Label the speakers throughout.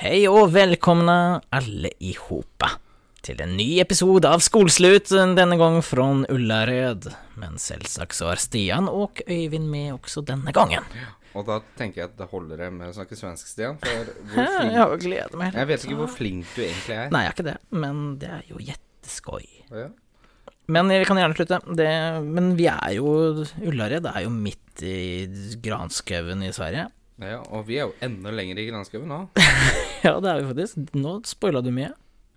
Speaker 1: Hei og velkomne alle i hopa til en ny episode av Skolslut, denne gang fra Ullarød. Men selvsagt så er Stian og Øyvind med også denne gangen.
Speaker 2: Og da tenker jeg at det holder det med å snakke svensk, Stian. For hvor
Speaker 1: Jeg
Speaker 2: flink,
Speaker 1: har gledet meg.
Speaker 2: jeg vet ikke hvor flink du egentlig er.
Speaker 1: Nei, jeg er ikke det, men det er jo jetteskoj.
Speaker 2: Ja.
Speaker 1: Men eh, vi kan gjerne slutte. Det, men vi er jo Ullared er jo midt i granskauen i Sverige.
Speaker 2: Ja, og vi er jo enda lenger i granskauen nå.
Speaker 1: Ja, det er vi faktisk. Nå spoila du mye.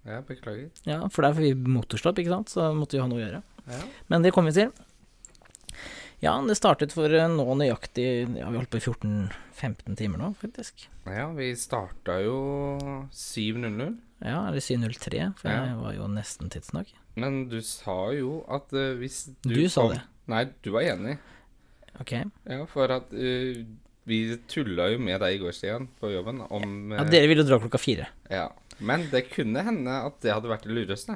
Speaker 2: Ja, beklager.
Speaker 1: Ja, For der får vi motorstopp, ikke sant, så måtte vi ha noe å gjøre.
Speaker 2: Ja.
Speaker 1: Men det kommer vi til. Ja, det startet for eh, nå nøyaktig Ja, vi holdt på i 14-15 timer nå, faktisk.
Speaker 2: ja, vi starta jo 7.00.
Speaker 1: Ja, eller 7.03, for
Speaker 2: Ja.
Speaker 1: jeg var jo nesten tidsnok.
Speaker 2: Men du sa jo at eh, hvis du
Speaker 1: Du sa
Speaker 2: kom-
Speaker 1: det.
Speaker 2: Nei, du var enig.
Speaker 1: Ok.
Speaker 2: Ja, for at eh, vi tulla jo med deg i går, Stian, på jobben om
Speaker 1: Ja,
Speaker 2: eh,
Speaker 1: dere ville dra klokka fire.
Speaker 2: ja. Men det kunne hende at det hadde vært det lureste.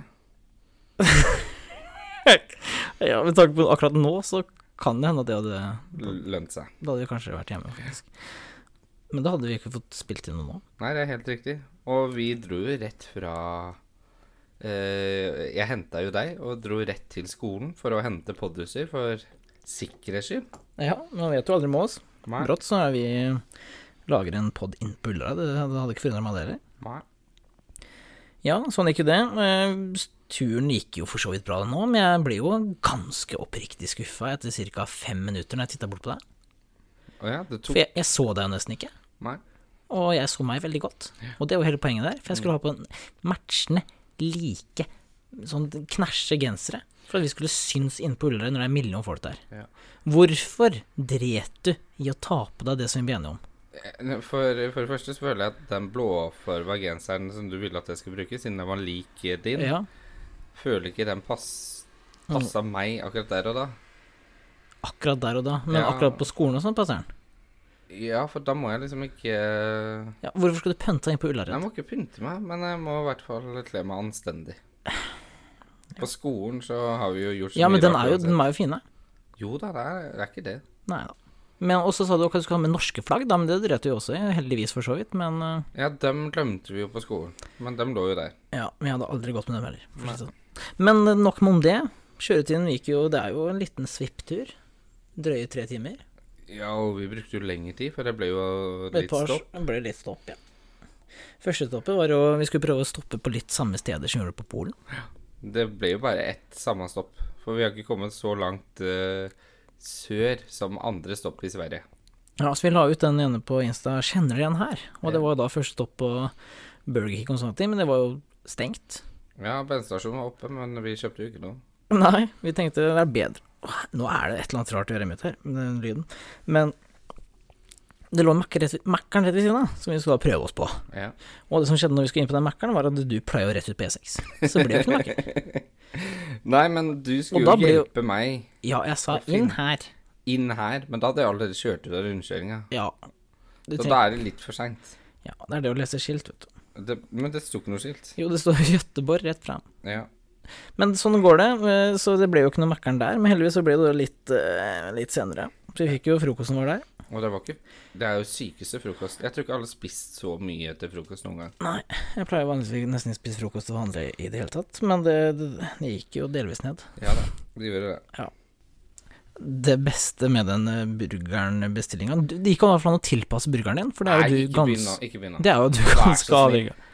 Speaker 1: Ja, med tanke på akkurat nå, så kan det hende at det hadde
Speaker 2: L- Lønt seg.
Speaker 1: Da hadde vi kanskje vært hjemme, faktisk. Men da hadde vi ikke fått spilt inn noe nå.
Speaker 2: Nei, det er helt riktig. Og vi dro jo rett fra eh, Jeg henta jo deg og dro rett til skolen for å hente podhuser for sikkerhets skyld.
Speaker 1: Ja, man vet jo aldri med oss.
Speaker 2: Nei.
Speaker 1: Brått så er vi lager en pod innpå Ullera, det det hadde ikke forundret meg det heller.
Speaker 2: Nei.
Speaker 1: Ja, sånn gikk jo det. Eh, Turen gikk jo for så vidt bra nå, men jeg ble jo ganske oppriktig skuffa etter ca. fem minutter når jeg titta bort på deg.
Speaker 2: Å ja, det
Speaker 1: For
Speaker 2: tok
Speaker 1: jeg, jeg så deg jo nesten ikke,
Speaker 2: meg.
Speaker 1: og jeg så meg veldig godt. Og det er jo hele poenget der, for jeg
Speaker 2: Mm.
Speaker 1: skulle ha på en matchende, like, sånn knæsje gensere. For at vi skulle synes inne på Ullera når det er en million folk der.
Speaker 2: Ja.
Speaker 1: Hvorfor dret du i å ta på deg det som vi ble enige om?
Speaker 2: Eh, For, for det første så føler jeg at den blåfarva genseren som du ville at jeg skulle bruke, siden den var lik din,
Speaker 1: Ja,
Speaker 2: føler ikke den pass, passa meg akkurat der og da.
Speaker 1: akkurat der og da, men
Speaker 2: Ja.
Speaker 1: akkurat på skolen og sånn passer den.
Speaker 2: Ja, for da må jeg liksom ikke
Speaker 1: Ja, hvorfor skulle du pønte deg inn på
Speaker 2: Jeg
Speaker 1: Ullared?
Speaker 2: må ikke pynte meg, men jeg må i hvert fall kle meg anstendig. På skolen så har vi jo gjort så
Speaker 1: Ja, men
Speaker 2: mye
Speaker 1: den
Speaker 2: rart
Speaker 1: er jo,
Speaker 2: uansett.
Speaker 1: den er jo fine.
Speaker 2: Jo da, det er, det er ikke det.
Speaker 1: Nei da. Men også sa du at du skulle ha med norske flagg, da, men det dreit du jo også i, heldigvis for så vidt. Men eh,
Speaker 2: Ja, dem glemte vi jo på skolen, men dem lå jo der.
Speaker 1: ja, men jeg hadde aldri gått med dem heller. For å si det sånn. Men eh, nok med om det. Kjøretiden gikk jo Det er jo en liten svipptur. Drøye tre timer.
Speaker 2: Ja, og vi brukte jo lengre tid, for det ble jo
Speaker 1: Et
Speaker 2: litt
Speaker 1: par
Speaker 2: stopp.
Speaker 1: det ble litt stopp, ja. Første stoppet var jo Vi skulle prøve å stoppe på litt samme steder som vi gjorde på Polen.
Speaker 2: Det ble jo bare ett samme stopp, for vi har ikke kommet så langt eh, sør som andre stopp i Sverige.
Speaker 1: Ja, så vi la ut den ene på Insta 'Kjenner dere igjen her?' Og det var jo da første stopp på Burger King og sånne ting, men det var jo stengt.
Speaker 2: Ja, bensinstasjonen var oppe, men vi kjøpte jo ikke noe.
Speaker 1: Nei, vi tenkte det er bedre Åh, Nå er det et eller annet rart i øret mitt her, med den lyden. Men det lå en Mac rett, Mac-en rett ved siden av, som vi skulle da prøve oss på.
Speaker 2: Ja.
Speaker 1: Og det som skjedde når vi skulle inn på den Mac-en, var at du pleier jo rett ut på E6. Så det ble jo ikke noe Mac.
Speaker 2: Nei, men du
Speaker 1: Og
Speaker 2: skulle
Speaker 1: da
Speaker 2: jo
Speaker 1: ble jo-
Speaker 2: hjelpe meg
Speaker 1: Ja, jeg sa
Speaker 2: Fint.
Speaker 1: inn her.
Speaker 2: inn her, men da hadde jeg allerede kjørt ut av rundkjøringa.
Speaker 1: Ja. Du
Speaker 2: Så
Speaker 1: tenker,
Speaker 2: da er det litt for seint.
Speaker 1: ja. Det er det å lese skilt, vet du.
Speaker 2: Men det sto ikke noe skilt.
Speaker 1: Jo, det står Gøteborg rett fram.
Speaker 2: Ja.
Speaker 1: Men sånn går det, eh, så det ble jo ikke noe Mac-en der. Men heldigvis så ble det jo litt, eh, litt senere. Så vi fikk jo frokosten vår der.
Speaker 2: Og det var ikke Det er jo sykeste frokost. Jeg tror ikke alle har spist så mye til frokost noen gang.
Speaker 1: Nei, jeg pleier vanligvis nesten ikke å spise frokost til vanlig i det hele tatt, men det, det, det gikk jo delvis ned.
Speaker 2: Ja da, de gjør det.
Speaker 1: Det beste med den eh, burgeren-bestillinga Du- Det gikk jo i hvert fall an å tilpasse burgeren din, for det er jo du
Speaker 2: ikke begynn nå.
Speaker 1: gans...
Speaker 2: Ikke begynn nå.
Speaker 1: Det er jo du
Speaker 2: så
Speaker 1: ganske
Speaker 2: snill.
Speaker 1: avhengig av.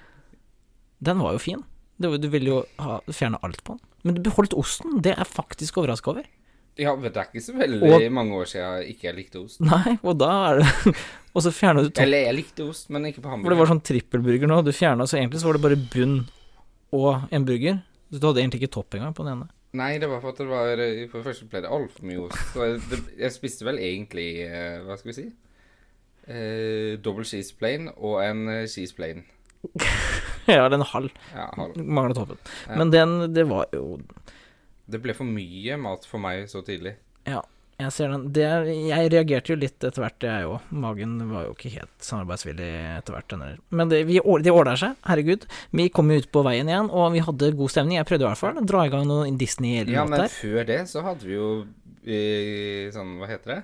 Speaker 1: Den var jo fin. Det var, du ville jo ha, fjerne alt på den. Men du beholdt osten, det er jeg faktisk overraska over.
Speaker 2: Ja, men det er ikke så veldig
Speaker 1: Og-
Speaker 2: mange år siden jeg ikke likte ost.
Speaker 1: Nei, og da er det Og så fjerna du toppen.
Speaker 2: Eller jeg likte ost, men ikke på
Speaker 1: For det var
Speaker 2: hamburger.
Speaker 1: sånn trippelburger nå, du fjerna så egentlig så var det bare bunn og en burger. Så du hadde egentlig ikke topp engang på den ene.
Speaker 2: Nei, det var for at det var For det første ble det altfor mye ost. Så det, jeg spiste vel egentlig eh, Hva skal vi si? Eh, Double cheese plane og en eh, cheese plane.
Speaker 1: Ja, den halv
Speaker 2: Ja, halv.
Speaker 1: mangla toppen.
Speaker 2: Ja.
Speaker 1: Men den, det var jo
Speaker 2: Det ble for mye mat for meg så tidlig.
Speaker 1: Ja, Jeg ser den. Det, jeg reagerte jo litt etter hvert, jeg òg. Magen var jo ikke helt samarbeidsvillig etter hvert. den der. Men det, vi, or- det ordner seg, herregud. Vi kom jo ut på veien igjen, og vi hadde god stemning. Jeg prøvde i hvert fall å dra i gang noe Disney eller
Speaker 2: Ja,
Speaker 1: noe
Speaker 2: men
Speaker 1: der.
Speaker 2: før det så hadde vi jo eh, sånn Hva heter det?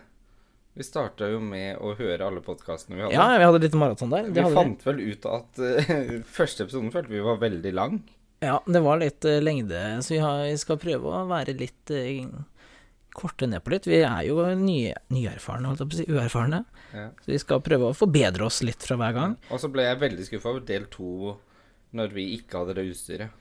Speaker 2: Vi starta jo med å høre alle podkastene vi hadde.
Speaker 1: Ja, vi hadde litt maraton der.
Speaker 2: vi
Speaker 1: Det hadde vi.
Speaker 2: fant vel ut at eh, første episoden følte vi var veldig lang.
Speaker 1: Ja, det var litt eh, lengde, så vi, har, vi skal prøve å være litt eh, korte ned på litt. Vi er jo nye, nyerfarne, holdt jeg på å si, uerfarne.
Speaker 2: Ja.
Speaker 1: Så vi skal prøve å forbedre oss litt fra hver gang.
Speaker 2: Og så ble jeg veldig skuffa over del to når vi ikke hadde det utstyret.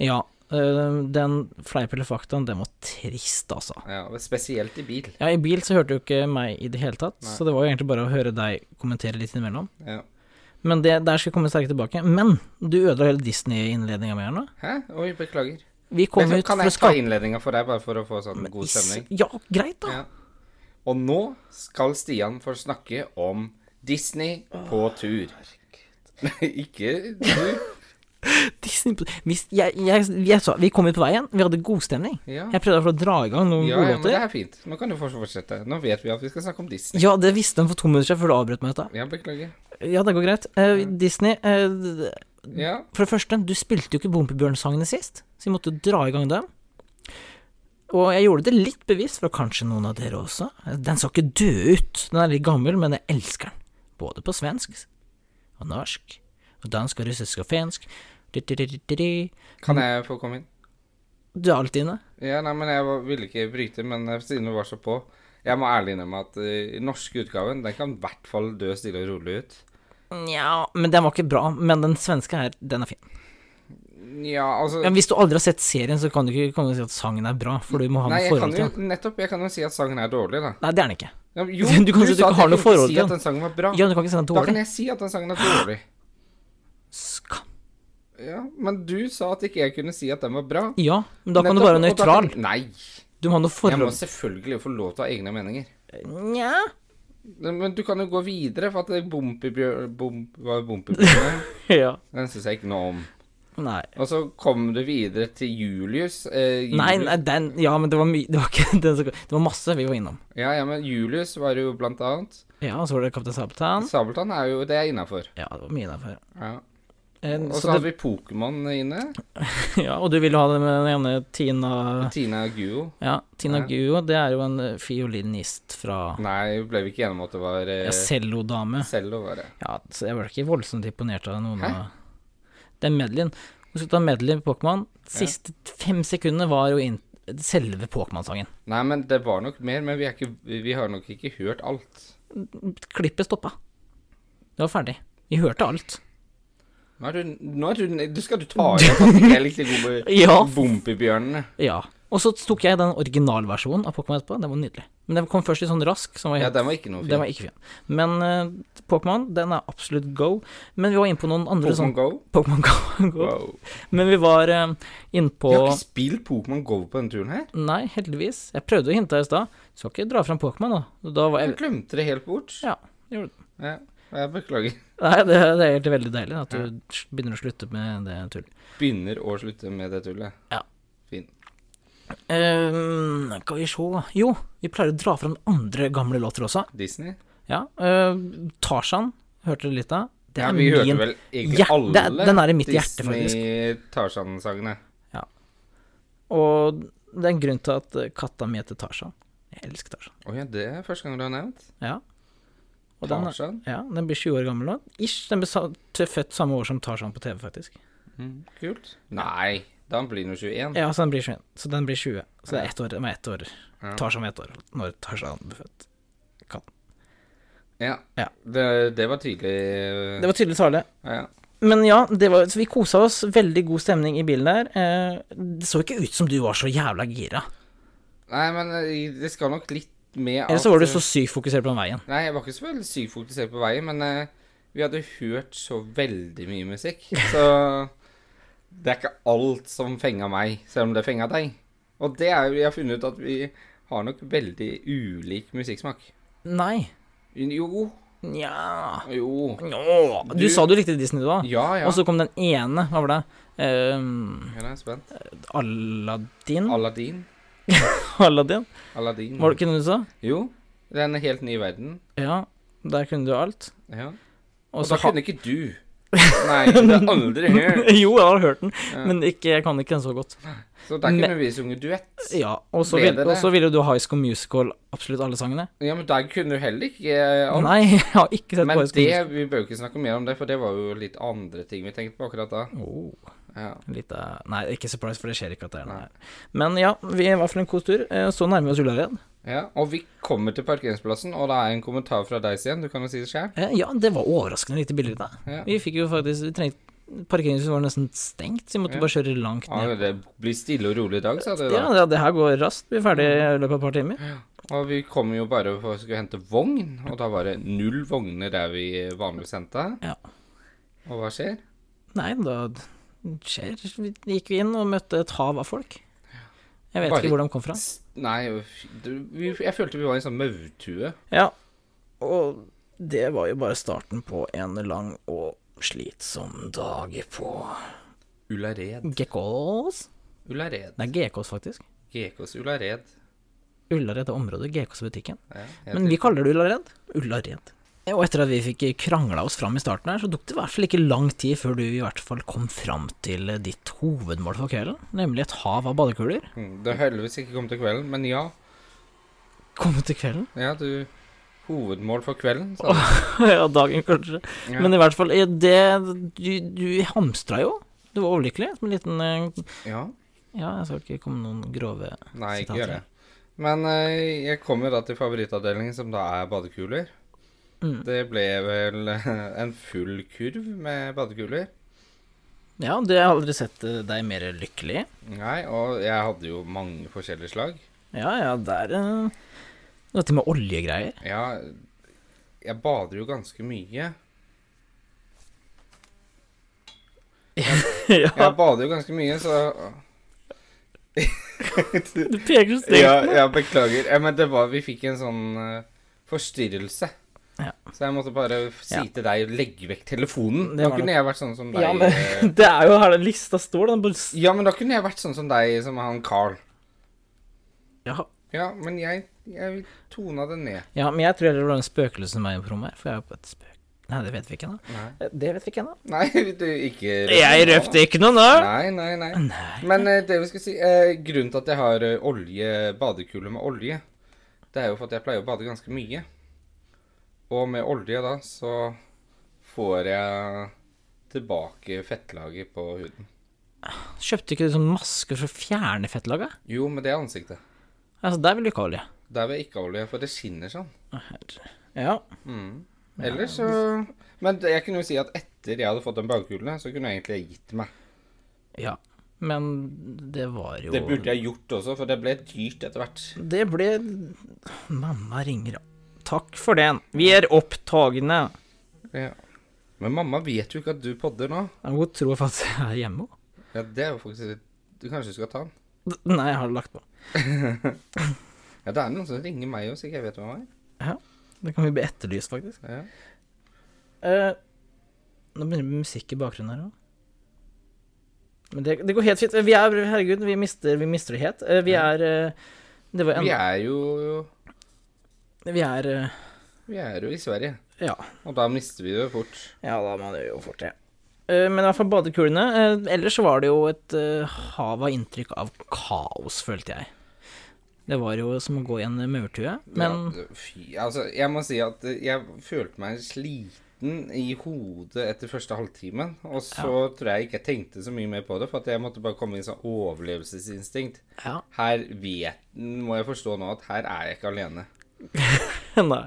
Speaker 1: Ja, eh, den fleip eller faktaen, den var trist, altså.
Speaker 2: Ja, og spesielt i bil.
Speaker 1: Ja, i bil så hørte du ikke meg i det hele tatt,
Speaker 2: Nei.
Speaker 1: så det var jo egentlig bare å høre deg kommentere litt innimellom.
Speaker 2: Ja.
Speaker 1: Men det, der skal jeg komme sterkt tilbake. Men du ødela hele Disney-innledninga mi her nå.
Speaker 2: Hæ? Oi, beklager.
Speaker 1: Vi kom
Speaker 2: Men
Speaker 1: ut
Speaker 2: kan
Speaker 1: for å
Speaker 2: jeg ta
Speaker 1: skape
Speaker 2: innledninga for deg, bare for å få sånn god stemning?
Speaker 1: Ja, greit, da.
Speaker 2: Ja. Og nå skal Stian få snakke om Disney på tur. ikke du.
Speaker 1: Disney på- Hvis jeg, jeg, jeg sa, Vi kom ut på veien, vi hadde god stemning.
Speaker 2: Ja.
Speaker 1: Jeg prøvde i hvert fall å dra i gang noen
Speaker 2: Ja,
Speaker 1: gode
Speaker 2: ja, men det
Speaker 1: låter.
Speaker 2: er fint. Nå kan du fortsatt fortsette. Nå vet vi at vi skal snakke om Disney.
Speaker 1: Ja, det visste de for to minutter siden før du avbrøt meg. Dette.
Speaker 2: Ja, beklager.
Speaker 1: Ja, det går greit. Eh, Disney eh, d-
Speaker 2: Ja,
Speaker 1: For det første, du spilte jo ikke Bompebjørn-sangene sist, så vi måtte dra i gang dem. Og jeg gjorde det litt bevisst, for kanskje noen av dere også. Den så ikke død ut. Den er litt gammel, men jeg elsker den. Både på svensk og norsk og dansk og russisk og finsk. Du, du, du, du, du, du.
Speaker 2: kan jeg få komme inn?
Speaker 1: Du er alltid inne.
Speaker 2: Ja, nei, men jeg var- ville ikke bryte, men eh, siden du var så på Jeg må ærlig innrømme at den norske utgaven den kan i hvert fall dø stille og rolig ut.
Speaker 1: Nja, men den var ikke bra. Men den svenske her, den er
Speaker 2: Mm.
Speaker 1: fin.
Speaker 2: Ja, altså
Speaker 1: Men hvis du aldri har sett serien, så kan du ikke komme og si at sangen er bra, for du må ha
Speaker 2: Nei,
Speaker 1: noe
Speaker 2: jeg kan
Speaker 1: forhold til
Speaker 2: jo
Speaker 1: den.
Speaker 2: nettopp jeg kan jo si at sangen er dårlig, da.
Speaker 1: Nei, det er den ikke.
Speaker 2: Ja, men Jo,
Speaker 1: Du kan si at du ikke
Speaker 2: at
Speaker 1: har noe
Speaker 2: jeg kunne
Speaker 1: forhold
Speaker 2: si
Speaker 1: til
Speaker 2: at
Speaker 1: den.
Speaker 2: den sangen var bra.
Speaker 1: Ja, men du kan ikke si den er
Speaker 2: Da kan
Speaker 1: dårlig.
Speaker 2: jeg si at den sangen er dårlig.
Speaker 1: Skam.
Speaker 2: Ja, Men du sa at ikke jeg kunne si at den var bra.
Speaker 1: Ja, men da kan du
Speaker 2: Nettopp,
Speaker 1: være
Speaker 2: og da kan-
Speaker 1: nøytral.
Speaker 2: Nei.
Speaker 1: Du må ha noe
Speaker 2: Jeg må
Speaker 1: forhold
Speaker 2: selvfølgelig få lov til å ha egne meninger.
Speaker 1: Nja
Speaker 2: Men du kan jo gå videre, for at det er Bompebjørn bom, Hva er Bompebjørn?
Speaker 1: ja.
Speaker 2: Den syns jeg ikke noe om.
Speaker 1: Nei.
Speaker 2: Og så kom du videre til Julius. Eh, Julius.
Speaker 1: Nei, nei, den Ja, men det var mye Det var ikke den som Det var masse vi var innom.
Speaker 2: Ja, ja, men Julius var jo blant annet.
Speaker 1: Ja, og så var det Kaptein Sabeltann.
Speaker 2: Sabeltann er jo det er innafor.
Speaker 1: Ja, det var mye derfor.
Speaker 2: Ja.
Speaker 1: Eh,
Speaker 2: Og så
Speaker 1: så
Speaker 2: hadde
Speaker 1: det,
Speaker 2: vi Pokémon inne.
Speaker 1: ja, og du ville ha det med den ene Tina
Speaker 2: Tina Guo.
Speaker 1: Ja, Tina
Speaker 2: Ja.
Speaker 1: Guo, det er jo en eh, fiolinist fra
Speaker 2: Nei, ble vi ikke enige om at det var
Speaker 1: ja,
Speaker 2: eh,
Speaker 1: Cello-dame.
Speaker 2: Cello, var det.
Speaker 1: Ja, så jeg ble ikke voldsomt imponert av noen
Speaker 2: Hæ?
Speaker 1: av Det er medleyen. Hun skulle ta medley på Pokémon. Siste fem sekundene var jo inn, selve Pokémon-sangen.
Speaker 2: Nei, men det var nok mer, men vi, er ikke, vi har nok ikke hørt alt.
Speaker 1: Klippet stoppa. Det var ferdig. Vi hørte alt.
Speaker 2: Nå er du, nå er du, du skal du ta igjen for at ikke jeg likte gode
Speaker 1: Ja.
Speaker 2: bompebjørnene.
Speaker 1: Ja. Og så tok jeg den originalversjonen av Pokémon etterpå. Den var nydelig. Men den kom først i sånn rask, som var
Speaker 2: Ja,
Speaker 1: helt
Speaker 2: den var ikke noe
Speaker 1: Den var
Speaker 2: fin.
Speaker 1: ikke fin. Men eh, Pokémon, den er absolutt go. Men vi var inne på noen andre
Speaker 2: Pokémon
Speaker 1: sånn
Speaker 2: Go?
Speaker 1: Pokémon go, go.
Speaker 2: Wow.
Speaker 1: Men vi var uh, innpå
Speaker 2: Vi har ikke spilt Pokémon Go på denne turen her.
Speaker 1: Nei, heldigvis. Jeg prøvde å hinte deg i stad. Skal ikke dra fram Pokémon, da. Og Da var
Speaker 2: Jeg
Speaker 1: jeg
Speaker 2: glemte det helt bort.
Speaker 1: Ja. gjorde du.
Speaker 2: Ja, jeg beklager.
Speaker 1: Nei, det, det er egentlig veldig deilig at du begynner å slutte med det tullet.
Speaker 2: Begynner å slutte med det tullet.
Speaker 1: Ja.
Speaker 2: Fin.
Speaker 1: Eh, skal vi se Jo, vi pleier å dra fram andre gamle låter også.
Speaker 2: Disney.
Speaker 1: Ja. eh, Tarzan hørte du litt av. Det
Speaker 2: Ja,
Speaker 1: er
Speaker 2: vi hørte
Speaker 1: min
Speaker 2: vel egentlig
Speaker 1: hjerte-
Speaker 2: alle
Speaker 1: det er- den er i mitt hjerte,
Speaker 2: Disney-Tarzan-sangene.
Speaker 1: Og det er en grunn til at eh, katta mi heter Tarzan. Jeg elsker Tarzan.
Speaker 2: Å ja, det er første gang du har nevnt.
Speaker 1: Ja. Og den, er-
Speaker 2: Tarzan.
Speaker 1: ja, den blir 20 år gammel nå. Ish. Den ble sa- t- født samme år som Tarzan på TV, faktisk.
Speaker 2: Mm, kult. Nei, da blir han jo 21.
Speaker 1: Ja, så den blir 21. Så den blir 20. Så det er ett år. Den er ett år.
Speaker 2: Ja.
Speaker 1: Tarzan var ett år når Tarzan ble født.
Speaker 2: Ja.
Speaker 1: Ja.
Speaker 2: Det, det var tydelig.
Speaker 1: Det var tydelig tale.
Speaker 2: ja, ja.
Speaker 1: Men ja, det var, så vi kosa oss. Veldig god stemning i bilen der. Eh, Det så ikke ut som du var så jævla gira.
Speaker 2: Nei, men eh, det skal nok litt med
Speaker 1: Eller så var du
Speaker 2: eh,
Speaker 1: så sykt fokusert på den veien.
Speaker 2: Nei, jeg var ikke så veldig sykt fokusert på veien, men eh, vi hadde hørt så veldig mye musikk. Så det er ikke alt som fenga meg, selv om det fenga deg. Og det er jo, jeg har funnet ut at vi har nok veldig ulik musikksmak.
Speaker 1: Nei.
Speaker 2: Jo,
Speaker 1: Nja
Speaker 2: jo.
Speaker 1: Nå. Du,
Speaker 2: Du-
Speaker 1: sa du likte Disney, du òg.
Speaker 2: Ja, ja.
Speaker 1: Og så kom den ene, hva var det? Um,
Speaker 2: Ja, jeg er spent.
Speaker 1: Aladdin?
Speaker 2: Aladdin.
Speaker 1: Aladdin.
Speaker 2: Aladdin.
Speaker 1: Var det ikke noe du sa?
Speaker 2: Jo. Det er en helt ny verden.
Speaker 1: Ja, der kunne du alt.
Speaker 2: Ja.
Speaker 1: Og
Speaker 2: Og
Speaker 1: så
Speaker 2: da
Speaker 1: ha-
Speaker 2: kunne ikke du. Nei, det har aldri hørt.
Speaker 1: Jo, jeg har hørt den,
Speaker 2: Ja.
Speaker 1: men ikke, jeg kan ikke den så godt.
Speaker 2: Så der kunne vi sunget duett.
Speaker 1: Ja, og så
Speaker 2: Ble
Speaker 1: vil,
Speaker 2: det
Speaker 1: og
Speaker 2: det?
Speaker 1: så ville du ha High School Musical absolutt alle sangene.
Speaker 2: Ja, men der kunne du heller ikke eh, alt.
Speaker 1: Nei, jeg har ikke sett
Speaker 2: Men
Speaker 1: på High School
Speaker 2: det, vi bør jo ikke snakke mer om det, for det var jo litt andre ting vi tenkte på akkurat da.
Speaker 1: Musical. Oh.
Speaker 2: Ja.
Speaker 1: Litt av Nei, ikke surprise, for det skjer ikke at det er noe her. Men ja, vi var for en kos tur. eh, Så nærmer vi oss Ullared.
Speaker 2: ja. Og vi kommer til parkeringsplassen, og det er en kommentar fra deg, Stian. Du kan jo si det sjøl.
Speaker 1: Eh, Ja, det var overraskende lite billigere da.
Speaker 2: Ja.
Speaker 1: Vi fikk jo faktisk Vi trengte Parkeringshuset var nesten stengt, så vi måtte
Speaker 2: Ja.
Speaker 1: bare kjøre langt
Speaker 2: Ja,
Speaker 1: ned.
Speaker 2: det blir stille og rolig i dag, sa du
Speaker 1: Ja,
Speaker 2: da.
Speaker 1: det, det her går raskt. Vi er ferdig i løpet av et par timer.
Speaker 2: Og vi kom jo bare for å skulle hente vogn, og da var det null vogner der vi vanligvis henta.
Speaker 1: Ja.
Speaker 2: Og hva skjer?
Speaker 1: Nei, da skjer Vi gikk vi inn og møtte et hav av folk. Jeg vet
Speaker 2: Bare-
Speaker 1: ikke hvor de kom fra.
Speaker 2: S- Nei, uff, du, vi, jeg følte vi var i en sånn maurtue.
Speaker 1: Ja, og det var jo bare starten på en lang og slitsom dag på
Speaker 2: Ullared.
Speaker 1: Gekkås.
Speaker 2: Ullared.
Speaker 1: Det er GKs, faktisk.
Speaker 2: Gekås Ullared.
Speaker 1: Ullared er området. GKs-butikken.
Speaker 2: Ja, jeg
Speaker 1: Men vi kaller det Ullared. Ullared. Og etter at vi fikk krangla oss fram i starten her, så tok det i hvert fall ikke lang tid før du i hvert fall kom fram til ditt hovedmål for kvelden, nemlig et hav av badekuler.
Speaker 2: Mm, Det har heldigvis ikke kommet til kvelden, men ja.
Speaker 1: Komme til kvelden.
Speaker 2: Ja, du Hovedmål for kvelden, sa du.
Speaker 1: ja, dagen kanskje.
Speaker 2: Ja.
Speaker 1: Men i hvert fall, eh, det Du, du hamstra jo. Du var overlykkelig. Som en liten eh,
Speaker 2: ja.
Speaker 1: Ja, jeg skal ikke komme med noen grove
Speaker 2: Nei, ikke
Speaker 1: Sitater.
Speaker 2: gjør det. Men eh, jeg kom jo da til favorittavdelingen, som da er badekuler.
Speaker 1: Mm.
Speaker 2: Det ble vel eh, en full kurv med badekuler.
Speaker 1: Ja, det har jeg aldri sett eh, deg mer lykkelig.
Speaker 2: Nei, og jeg hadde jo mange forskjellige slag.
Speaker 1: Ja, ja, der eh, Dette med oljegreier.
Speaker 2: Ja, jeg bader jo ganske mye.
Speaker 1: ja,
Speaker 2: Jeg bader jo ganske mye, så
Speaker 1: du peker så stygt.
Speaker 2: ja,
Speaker 1: nå.
Speaker 2: ja, beklager. Ja, men det var Vi fikk en sånn eh, forstyrrelse.
Speaker 1: Ja.
Speaker 2: Så jeg måtte bare f- si
Speaker 1: Ja.
Speaker 2: til deg å legge vekk telefonen.
Speaker 1: Det
Speaker 2: Da
Speaker 1: var nok-
Speaker 2: kunne jeg vært sånn som deg.
Speaker 1: Ja, men-
Speaker 2: eh,
Speaker 1: Det er jo her den lista står, den bare s-
Speaker 2: ja, men da kunne jeg vært sånn som deg, som han Carl.
Speaker 1: ja.
Speaker 2: Ja, men jeg, jeg tona det ned.
Speaker 1: ja, men jeg tror heller det var en spøkelse som er på rommet her, for jeg er på et spøk... Nei, det vet vi ikke ennå.
Speaker 2: Nei,
Speaker 1: Eh, Det vet vi ikke ennå.
Speaker 2: du ikke
Speaker 1: Jeg røpte ikke noe nå!
Speaker 2: Nei, nei, nei. Men eh, det vi skal si eh, Grunnen til at jeg har eh, olje, badekule med olje, det er jo for at jeg pleier å bade ganske mye. Og med olje da, så får jeg tilbake fettlaget på huden.
Speaker 1: Kjøpte ikke du sånn maske for å fjerne fettlaget?
Speaker 2: Jo, men det er ansiktet.
Speaker 1: Altså, der vil du ikke ha olje.
Speaker 2: Der vil jeg ikke ha olje, for det skinner sånn.
Speaker 1: Å, herre. Ja.
Speaker 2: Mm. Ellers så Men det- jeg kunne jo si at etter jeg hadde fått den badekulen, så kunne jeg egentlig gitt meg.
Speaker 1: ja. Men det var jo
Speaker 2: Det burde jeg gjort også, for det ble dyrt etter hvert.
Speaker 1: Det ble Mamma ringer. Takk for den. Vi er opptagende.
Speaker 2: Ja. Men mamma vet jo ikke at du podder nå.
Speaker 1: Hun tror faktisk jeg er hjemme. hun.
Speaker 2: Ja, det er jo faktisk litt Du kanskje skal ta den?
Speaker 1: D- Nei, jeg har lagt på.
Speaker 2: Ja, det er noen som ringer meg også, ikke jeg vet hvem han er.
Speaker 1: Det kan vi bli etterlyst, faktisk.
Speaker 2: Ja.
Speaker 1: Eh, nå begynner det med musikk i bakgrunnen her òg. Men det, det går helt fint. Vi er Herregud, vi mister, vi mister det helt. Eh, vi er eh, Det var
Speaker 2: Vi
Speaker 1: en
Speaker 2: er jo
Speaker 1: Vi er eh,
Speaker 2: Vi er jo i Sverige,
Speaker 1: Ja.
Speaker 2: og da mister vi det jo fort.
Speaker 1: Ja da, man gjør jo fort det. Eh, Men i hvert fall badekulene. eh, Ellers så var det jo et eh, hav av inntrykk av kaos, følte jeg. Det var jo som å gå i en eh, maurtue, men
Speaker 2: ja, Fy, altså, jeg må si at eh, jeg følte meg sliten i hodet etter første halvtimen, og så tror jeg ikke jeg tenkte så mye mer på det, for at jeg måtte bare komme i sånn overlevelsesinstinkt.
Speaker 1: ja.
Speaker 2: Her vet Må jeg forstå nå at her er jeg ikke alene.
Speaker 1: Nei.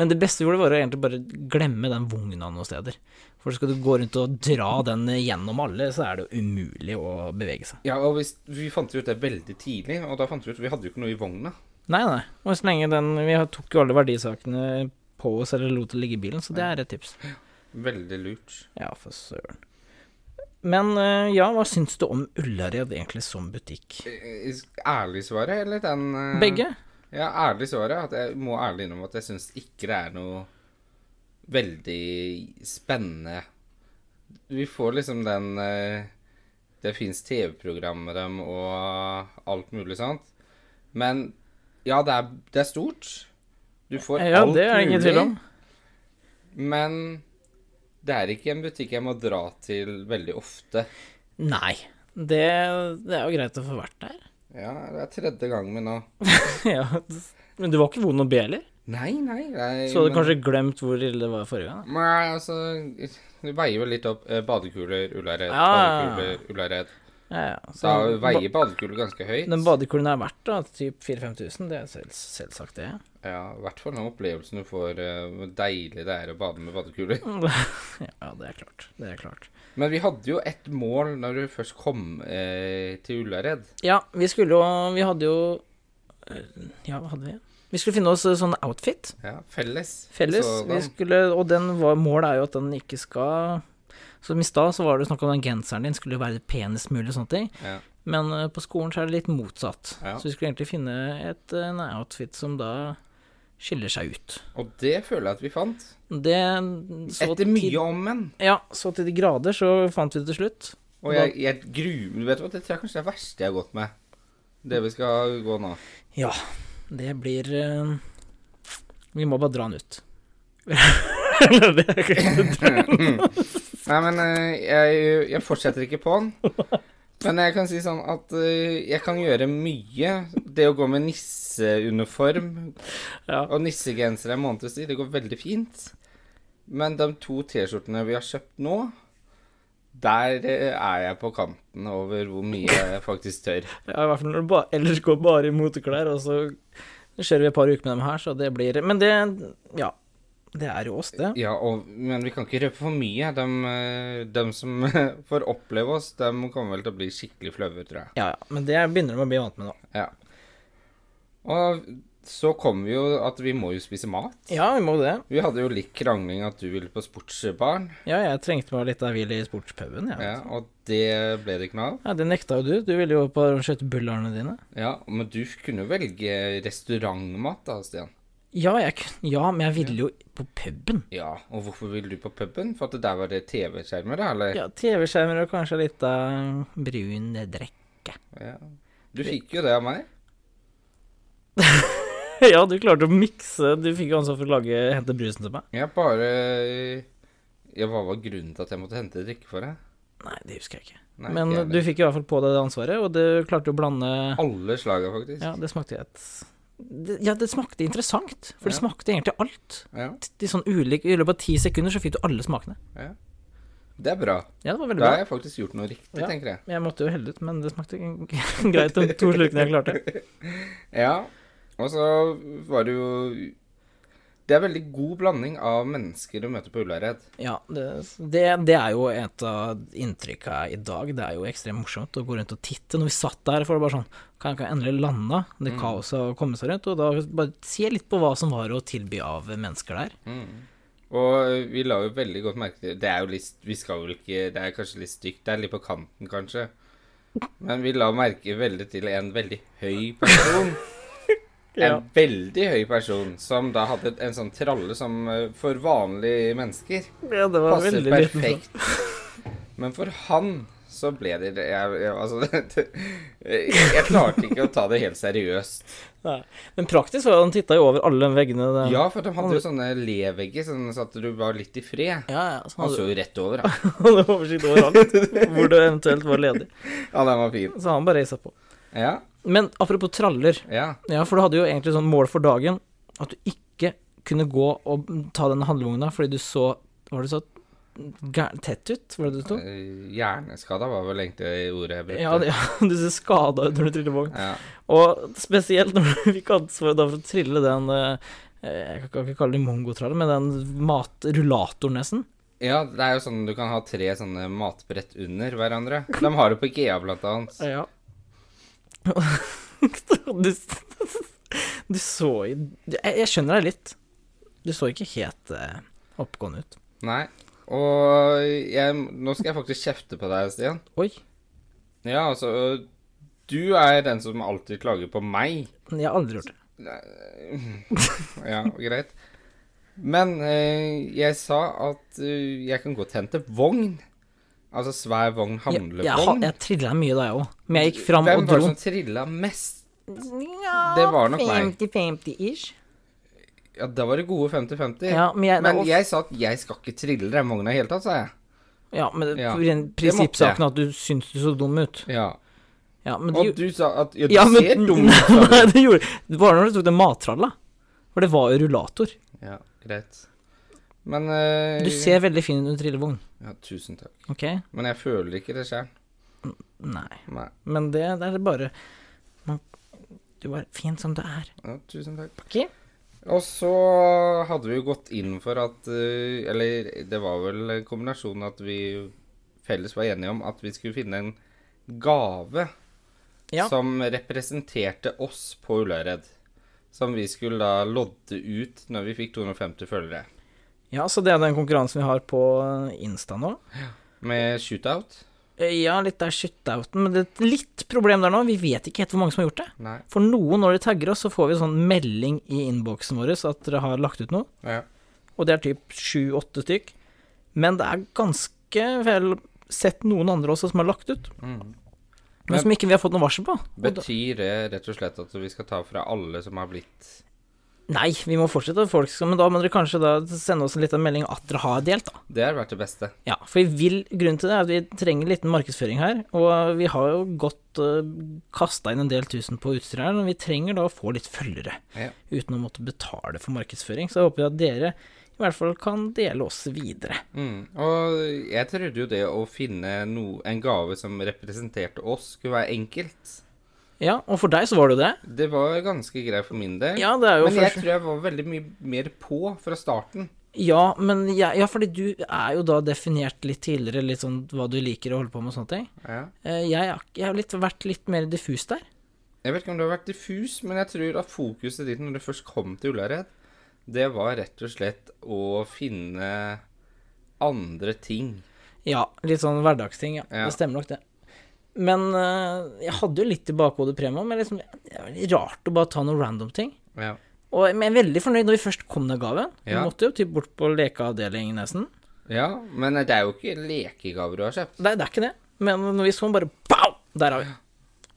Speaker 1: Men det beste vi gjorde, var å egentlig bare glemme den vogna noen steder. For skal du gå rundt og dra den eh, gjennom alle, så er det jo umulig å bevege seg.
Speaker 2: Ja, og hvis, vi fant jo ut det veldig tidlig, og da fant vi ut Vi hadde jo ikke noe i vogna.
Speaker 1: Nei, nei. Og så lenge den Vi tok jo alle verdisakene på oss eller lot det ligge i bilen, så det er et tips.
Speaker 2: Veldig lurt.
Speaker 1: Ja, for søren. Men eh, ja, hva syns du om Ullared egentlig som butikk?
Speaker 2: Eh, Ærlig svaret, eller den eh,
Speaker 1: Begge?
Speaker 2: Ja, ærlig svaret er at jeg må ærlig innrømme at jeg syns ikke det er noe veldig spennende Vi får liksom den eh, Det fins TV-programmer om og alt mulig sånt. Men ja, det er, det er stort. Du får
Speaker 1: Ja,
Speaker 2: alt
Speaker 1: det er det ingen tvil om.
Speaker 2: Men det er ikke en butikk jeg må dra til veldig ofte.
Speaker 1: Nei. Det, det er jo greit å få vært der.
Speaker 2: Ja, det er tredje gangen min nå.
Speaker 1: ja, men du var ikke vond å be, heller?
Speaker 2: Nei, nei, nei.
Speaker 1: Så hadde du
Speaker 2: men-
Speaker 1: kanskje glemt hvor ille det var forrige gang?
Speaker 2: Nei, altså Det veier jo litt opp. eh, Badekuler, Ullared,
Speaker 1: Ja.
Speaker 2: badekuler, Ullared.
Speaker 1: da? Ja, ja. Så
Speaker 2: Da veier
Speaker 1: ba-
Speaker 2: badekuler ganske høyt.
Speaker 1: den badekulen er verdt da, typ 4000-5000, det er selv, selvsagt det.
Speaker 2: Ja, I hvert fall den opplevelsen du får, eh, hvor deilig det er å bade med badekuler.
Speaker 1: Mm. ja, det er klart. Det er klart.
Speaker 2: Men vi hadde jo ett mål når du først kom eh, til Ullared.
Speaker 1: Ja, vi skulle jo Vi hadde jo øh, Ja, hva hadde vi? Vi skulle finne oss øh, sånn outfit
Speaker 2: Ja, felles.
Speaker 1: felles.
Speaker 2: Så
Speaker 1: vi
Speaker 2: da-
Speaker 1: skulle, og den var, målet er jo at den ikke skal Som i stad så var det snakk om den genseren din skulle være penest mulig og sånne ting.
Speaker 2: Ja.
Speaker 1: Men øh, på skolen så er det litt motsatt.
Speaker 2: Ja.
Speaker 1: Så vi skulle egentlig finne et, øh, en outfit som da skiller seg ut.
Speaker 2: Og det føler jeg at vi fant.
Speaker 1: Det så
Speaker 2: Etter
Speaker 1: til-
Speaker 2: mye om men.
Speaker 1: Ja, så til de grader så fant vi det til slutt.
Speaker 2: Og jeg, jeg gruer meg Vet du hva, det tror jeg kanskje er det verste jeg har gått med. Det vi skal gå nå.
Speaker 1: Ja, det blir eh, Vi må bare dra den ut. det er ikke-
Speaker 2: Nei, men eh, jeg, jeg fortsetter ikke på den. Men jeg kan si sånn at eh, jeg kan gjøre mye. Det å gå med nisseuniform
Speaker 1: ja.
Speaker 2: og nissegenser en måneds tid, det går veldig fint. Men de to T-skjortene vi har kjøpt nå, der eh, er jeg på kanten over hvor mye jeg faktisk tør.
Speaker 1: ja, i hvert fall når du ba, ellers går bare i moteklær, og så kjører vi et par uker med dem her, så det blir Men det Ja. Det er jo oss, det.
Speaker 2: Ja, og, men vi kan ikke røpe for mye. De, eh, de som får oppleve oss, de kommer vel til å bli skikkelig flaue, tror jeg.
Speaker 1: Ja, ja. Men det begynner de å bli vant med nå.
Speaker 2: Ja. Og så kom vi jo at vi må jo spise mat.
Speaker 1: Ja, vi må det.
Speaker 2: Vi hadde jo litt krangling at du ville på sportsbarn,
Speaker 1: Ja, jeg trengte meg litt av hvil i sportspuben, jeg. Ja.
Speaker 2: ja, og det ble det ikke noe av.
Speaker 1: Ja, det nekta jo du. Du ville jo på skøytebullerne dine.
Speaker 2: Ja, men du kunne jo velge restaurantmat da, Stian.
Speaker 1: Ja, jeg, kun- ja, men jeg ville jo på puben.
Speaker 2: Ja, og hvorfor ville du på puben? For at der var det TV-skjermer, da, eller?
Speaker 1: Ja, TV-skjermer og kanskje litt av brun drikke.
Speaker 2: Ja. Du fikk jo det av meg.
Speaker 1: Ja, du klarte å mikse. Du fikk jo ansvar for å lage, hente brusen til meg.
Speaker 2: Jeg bare Ja, hva var grunnen til at jeg måtte hente drikke for deg?
Speaker 1: Nei, det husker jeg ikke.
Speaker 2: Nei,
Speaker 1: Men
Speaker 2: ikke jeg
Speaker 1: du fikk i hvert fall på deg det ansvaret, og du klarte å blande
Speaker 2: Alle slaga, faktisk.
Speaker 1: Ja, det smakte et det, Ja, det smakte interessant, for det
Speaker 2: Ja.
Speaker 1: smakte egentlig alt.
Speaker 2: Ja,
Speaker 1: I, sånn ulik, I løpet av ti sekunder så fikk du alle smakene.
Speaker 2: ja. Det er bra.
Speaker 1: Ja, det var veldig
Speaker 2: Da har
Speaker 1: bra.
Speaker 2: jeg faktisk gjort noe riktig,
Speaker 1: Ja.
Speaker 2: tenker jeg.
Speaker 1: Jeg måtte jo helle ut, men det smakte greit de to slukene jeg klarte.
Speaker 2: Ja, og så var det jo Det er veldig god blanding av mennesker du møter på Ullared.
Speaker 1: Ja, det, det, det er jo et av inntrykka i dag. Det er jo ekstremt morsomt å gå rundt og titte. Når vi satt der, for det var sånn Kan jeg ikke endelig lande det
Speaker 2: Mm.
Speaker 1: kaoset og komme seg rundt? Og da bare se litt på hva som var å tilby av mennesker der.
Speaker 2: Mm. Og vi la jo veldig godt merke til Det er jo litt Vi skal vel ikke Det er kanskje litt stygt. Det er litt på kanten, kanskje. Men vi la merke veldig til en veldig høy person. En
Speaker 1: Ja.
Speaker 2: veldig høy person som da hadde en sånn tralle som eh, for vanlige mennesker
Speaker 1: Ja, det var
Speaker 2: passer
Speaker 1: veldig liten sånn.
Speaker 2: perfekt. Men for han så ble det det- jeg, jeg, Altså Jeg jeg klarte ikke å ta det helt seriøst.
Speaker 1: Nei. Men praktisk var det, han titta jo over alle de veggene. der.
Speaker 2: Ja, for de hadde jo sånne levegger, sånn så at du var litt i fred.
Speaker 1: ja, ja, så
Speaker 2: Han
Speaker 1: han
Speaker 2: så jo rett over, han.
Speaker 1: hadde oversikt over alt hvor det eventuelt var ledig.
Speaker 2: Ja, den var fin.
Speaker 1: Så han bare reisa på.
Speaker 2: Ja,
Speaker 1: Men apropos traller.
Speaker 2: ja.
Speaker 1: Ja, for du hadde jo egentlig sånn mål for dagen at du ikke kunne gå og ta den handlevogna fordi du så Var det så gæ- tett ut? Var det det du sto?
Speaker 2: Eh, Hjerneskada var vel egentlig ordet jeg brukte.
Speaker 1: Ja, det- ja, du ser skada ut når du triller vogn.
Speaker 2: Ja.
Speaker 1: Og spesielt når du fikk ansvaret da for å trille den eh, Jeg kan ikke kalle det mongotralle, men den matrullatoren, nesten.
Speaker 2: ja, det er jo sånn du kan ha tre sånne matbrett under hverandre. De har det på Ikea, blant annet.
Speaker 1: Ja. Du, du så i jeg, jeg skjønner deg litt. Du så ikke helt eh, oppgående ut.
Speaker 2: Nei. Og jeg, nå skal jeg faktisk kjefte på deg, Stian.
Speaker 1: Oi.
Speaker 2: Ja, altså ø, Du er den som alltid klager på meg.
Speaker 1: Jeg har aldri gjort det.
Speaker 2: Ja, greit. Men ø, jeg sa at ø, jeg kan godt hente vogn. Altså svær vogn,
Speaker 1: Jeg, jeg, ha-
Speaker 2: handlevogn.
Speaker 1: jeg trilla mye da, jeg òg. Men jeg gikk fram og
Speaker 2: Hvem var det
Speaker 1: dro.
Speaker 2: som trilla mest?
Speaker 1: Ja,
Speaker 2: det var nok meg.
Speaker 1: 50-50-ish.
Speaker 2: Ja, da var det gode 50-50.
Speaker 1: Ja, men jeg-
Speaker 2: men
Speaker 1: og-
Speaker 2: jeg sa at jeg skal ikke trille den vogna i det hele tatt, sa jeg.
Speaker 1: Ja, men
Speaker 2: Ja,
Speaker 1: prin-
Speaker 2: det måtte jeg.
Speaker 1: prinsippsaken at du syns du så dum ut.
Speaker 2: Ja.
Speaker 1: Ja, men
Speaker 2: Og
Speaker 1: det
Speaker 2: du sa at ja, du
Speaker 1: ja, men,
Speaker 2: ser dum ut. sa du.
Speaker 1: Nei, det gjorde Det var når du tok den mattralla. For det var jo rullator.
Speaker 2: Ja, greit. Men eh,
Speaker 1: Du ser veldig fin ut under trillevogn.
Speaker 2: Ja, tusen takk.
Speaker 1: Ok?
Speaker 2: Men jeg føler ikke det sjøl.
Speaker 1: Nei.
Speaker 2: Nei.
Speaker 1: Men det, det er bare man, Du var fin som du er.
Speaker 2: Ja, tusen takk.
Speaker 1: Ok?
Speaker 2: Og så hadde vi jo gått inn for at eh, Eller det var vel en kombinasjon at vi felles var enige om at vi skulle finne en gave
Speaker 1: Ja.
Speaker 2: som representerte oss på Ulløyred. Som vi skulle da lodde ut når vi fikk 250 følgere.
Speaker 1: ja, så det er den konkurransen vi har på eh, Insta nå. Eh,
Speaker 2: Med shootout?
Speaker 1: Ja, litt der shit-outen, men det er et litt problem der nå. Vi vet ikke helt hvor mange som har gjort det.
Speaker 2: Nei.
Speaker 1: For noen, når de tagger oss, så får vi en sånn melding i innboksen vår at dere har lagt ut noe.
Speaker 2: Ja.
Speaker 1: Og det er typ sju-åtte stykk. Men det er ganske vel sett noen andre også som har lagt ut,
Speaker 2: Mm.
Speaker 1: men
Speaker 2: Men-
Speaker 1: som ikke vi har fått noe varsel på. Og da,
Speaker 2: Betyr det rett og slett at vi skal ta fra alle som har blitt
Speaker 1: nei, vi må fortsette at folk skal Men da må dere kanskje da sende oss en liten melding at dere har delt, da.
Speaker 2: Det har vært det beste.
Speaker 1: Ja, for vi vil, grunnen til det er at vi trenger en liten markedsføring her, og vi har jo gått uh, kasta inn en del tusen på utstyr her, men vi trenger da å få litt følgere.
Speaker 2: Ja.
Speaker 1: Uten å måtte betale for markedsføring. Så jeg håper jo at dere i hvert fall kan dele oss videre.
Speaker 2: Mm. Og jeg trodde jo det å finne no, en gave som representerte oss, skulle være enkelt.
Speaker 1: Ja, og for deg så var det jo det.
Speaker 2: Det var ganske greit for min del.
Speaker 1: Ja, det er jo
Speaker 2: Men jeg
Speaker 1: først-
Speaker 2: tror jeg var veldig mye mer på fra starten.
Speaker 1: Ja, men jeg, ja, fordi du er jo da definert litt tidligere litt sånn hva du liker å holde på med og sånne ting.
Speaker 2: Ja.
Speaker 1: Eh, Jeg, har- jeg har litt, vært litt mer diffus der.
Speaker 2: Jeg vet ikke om det har vært diffus, men jeg tror at fokuset ditt når du først kom til Ullared, det var rett og slett å finne andre ting.
Speaker 1: Ja, litt sånn hverdagsting, ja.
Speaker 2: Ja.
Speaker 1: Det stemmer nok det. Men eh, jeg hadde jo litt i bakhodet Prema, men liksom, det er veldig rart å bare ta noen random ting.
Speaker 2: Ja.
Speaker 1: Og jeg men jeg er veldig fornøyd når vi først kom den gaven. Vi
Speaker 2: Ja.
Speaker 1: måtte jo typ bort på lekeavdelingen nesten.
Speaker 2: ja, men det er jo ikke lekegaver du har kjøpt.
Speaker 1: Nei, det er ikke det. Men når vi så den, bare pow! Der har vi.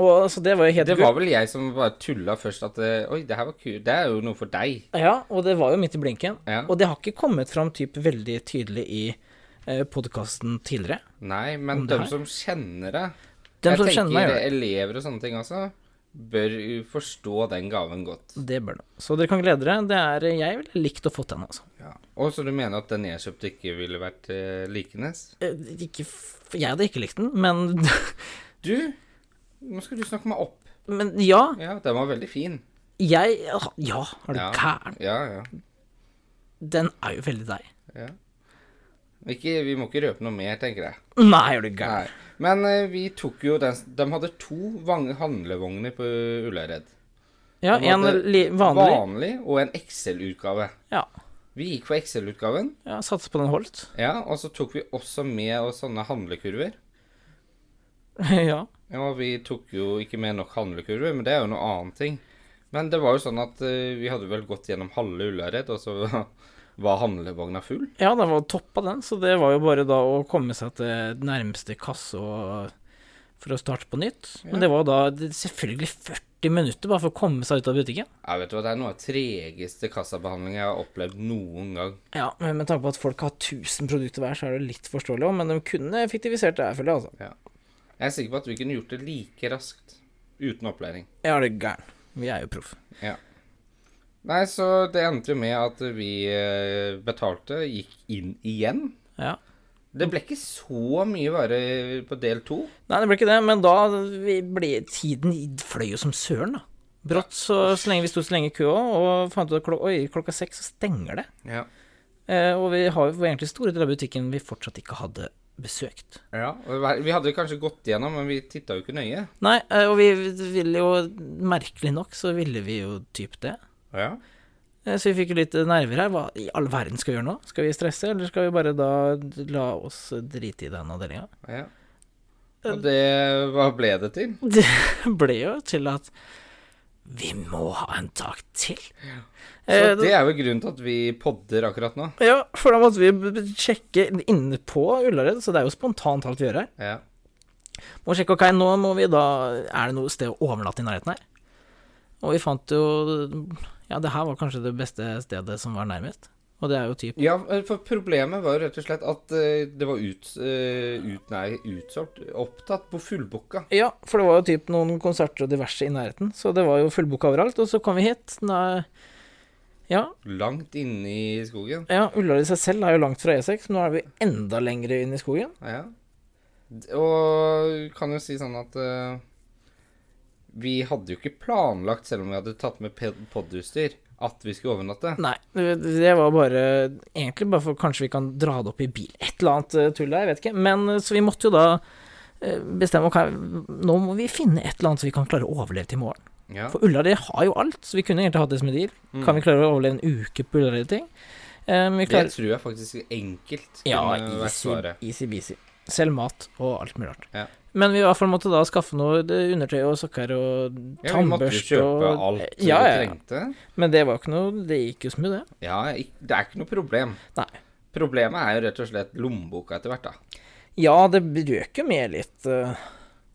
Speaker 1: Og så det var jo helt
Speaker 2: Det var vel jeg som bare tulla først at eh, Oi, det her var kult. Det er jo noe for deg.
Speaker 1: Ja, og det var jo midt i blinken.
Speaker 2: Ja.
Speaker 1: Og det har ikke kommet fram typ veldig tydelig i eh, podkasten tidligere.
Speaker 2: Nei, men
Speaker 1: Om det
Speaker 2: de
Speaker 1: her?
Speaker 2: som kjenner deg
Speaker 1: Dem
Speaker 2: Jeg
Speaker 1: som
Speaker 2: tenker
Speaker 1: kjenner meg, gjør det.
Speaker 2: elever og sånne ting også bør jo forstå den gaven godt.
Speaker 1: Det bør du. Så dere kan glede dere. Det er Jeg ville likt å fått den, altså.
Speaker 2: Ja. Og så du mener at den jeg kjøpte, ikke ville vært eh, likenes?
Speaker 1: Eh, Ikke, f- jeg hadde ikke likt den, men,
Speaker 2: Du, nå skal du snakke meg opp.
Speaker 1: men ja.
Speaker 2: Ja, den var veldig fin.
Speaker 1: Jeg Ja, er du
Speaker 2: Ja.
Speaker 1: gæren?
Speaker 2: Ja, ja.
Speaker 1: Den er jo veldig deg.
Speaker 2: ja. Ikke, vi må ikke røpe noe mer, tenker jeg.
Speaker 1: Nei, er du gæren?
Speaker 2: Nei. Men eh, vi tok jo den De hadde to vang- handlevogner på Ullared.
Speaker 1: Ja,
Speaker 2: på en
Speaker 1: en
Speaker 2: måte
Speaker 1: li, vanlig.
Speaker 2: vanlig og en XL-utgave.
Speaker 1: Ja.
Speaker 2: Vi gikk for XL-utgaven.
Speaker 1: ja Satser på den holdt.
Speaker 2: Ja, og så tok vi også med oss sånne handlekurver.
Speaker 1: ja.
Speaker 2: Ja, vi tok jo ikke med nok handlekurver, men det er jo noe annet ting. Men det var jo sånn at eh, vi hadde vel gått gjennom halve Ullared, og så var handlevogna full.
Speaker 1: ja, den var toppa, den. Så det var jo bare da å komme seg til nærmeste kasse og for å starte på nytt. Men det var da det- selvfølgelig 40 minutter bare for å komme seg ut av butikken.
Speaker 2: Jeg vet du hva, det er noe av den tregeste kassabehandlingen jeg har opplevd noen gang.
Speaker 1: Ja, men med tanke på at folk har 1000 produkter hver, så er det litt forståelig òg, men de kunne effektivisert det her, føler jeg, altså.
Speaker 2: Jeg er sikker på at vi kunne gjort det like raskt uten opplæring.
Speaker 1: Ja, det er gæren. Vi er jo proff.
Speaker 2: Nei, så det endte jo med at vi eh, betalte, gikk inn igjen.
Speaker 1: Ja.
Speaker 2: Det ble ikke så mye vare på del to.
Speaker 1: Nei, det ble ikke det, men da vi ble, Tiden fløy jo som søren, da. Brått så, så lenge vi sto så lenge i køa, og fant ut at klok oi, klokka seks så stenger det.
Speaker 2: Ja.
Speaker 1: Eh, og vi har jo egentlig store deler av butikken vi fortsatt ikke hadde besøkt.
Speaker 2: Ja, og det var- Vi hadde kanskje gått gjennom, men vi titta jo ikke nøye.
Speaker 1: Nei, eh, og vi ville jo Merkelig nok så ville vi jo typ det.
Speaker 2: Ja.
Speaker 1: Eh, Så vi fikk jo litt nerver her. Hva i all verden skal vi gjøre nå? Skal vi stresse, eller skal vi bare da la oss drite i den avdelinga?
Speaker 2: ja. Og det Hva ble det til?
Speaker 1: Det ble jo til at vi må ha en dag til. Eh,
Speaker 2: Så det er jo grunnen til at vi podder akkurat nå.
Speaker 1: Ja, for da måtte vi b- b- sjekke inne på Ullared, så det er jo spontant alt vi gjør her.
Speaker 2: Ja.
Speaker 1: Må sjekke, ok, nå må vi da Er det noe sted å overnatte i nærheten her? Og vi fant jo Ja, det her var kanskje det beste stedet som var nærmest. Og det er jo typ
Speaker 2: Ja, for problemet var jo rett og slett at eh, det var ut, eh, ut, nei, utsolgt, opptatt på fullbooka.
Speaker 1: Ja, for det var jo typ noen konserter og diverse i nærheten, så det var jo fullbooka overalt. Og så kom vi hit. Da, ja,
Speaker 2: Langt inne i skogen.
Speaker 1: ja, Ullern i seg selv er jo langt fra E6, men nå er vi enda lengre inn i skogen.
Speaker 2: Ja. D- Og kan jo si sånn at eh, vi hadde jo ikke planlagt, selv om vi hadde tatt med ped- podutstyr, at vi skulle overnatte.
Speaker 1: Nei, det det var bare Egentlig bare for kanskje vi kan dra det opp i bil. Et eller annet eh, tull der, jeg vet ikke. Men eh, så vi måtte jo da eh, bestemme ok, Nå må vi finne et eller annet så vi kan klare å overleve til i morgen.
Speaker 2: Ja. Mm.
Speaker 1: For Ullared har jo alt, så vi kunne egentlig hatt det som en deal. Kan vi klare å overleve en uke på Ullared-ting? Eh, men vi
Speaker 2: Det
Speaker 1: klarer
Speaker 2: tror jeg faktisk enkelt
Speaker 1: Ja,
Speaker 2: kunne vært
Speaker 1: easy-
Speaker 2: eh, svaret.
Speaker 1: easy-beasy. Selv mat og alt mulig rart.
Speaker 2: Ja.
Speaker 1: Men vi i hvert fall måtte da skaffe noe eh, undertøy og sokker og
Speaker 2: Ja, vi måtte jo
Speaker 1: tannbørste
Speaker 2: kjøpe
Speaker 1: og
Speaker 2: alt
Speaker 1: Ja, ja,
Speaker 2: vi
Speaker 1: ja.
Speaker 2: trengte.
Speaker 1: Men det var jo ikke noe Det gikk jo smooth, det.
Speaker 2: Ja, ik- det er ikke noe problem.
Speaker 1: Nei.
Speaker 2: Problemet er jo rett og slett lommeboka etter hvert, da.
Speaker 1: Ja, det røk jo med litt eh,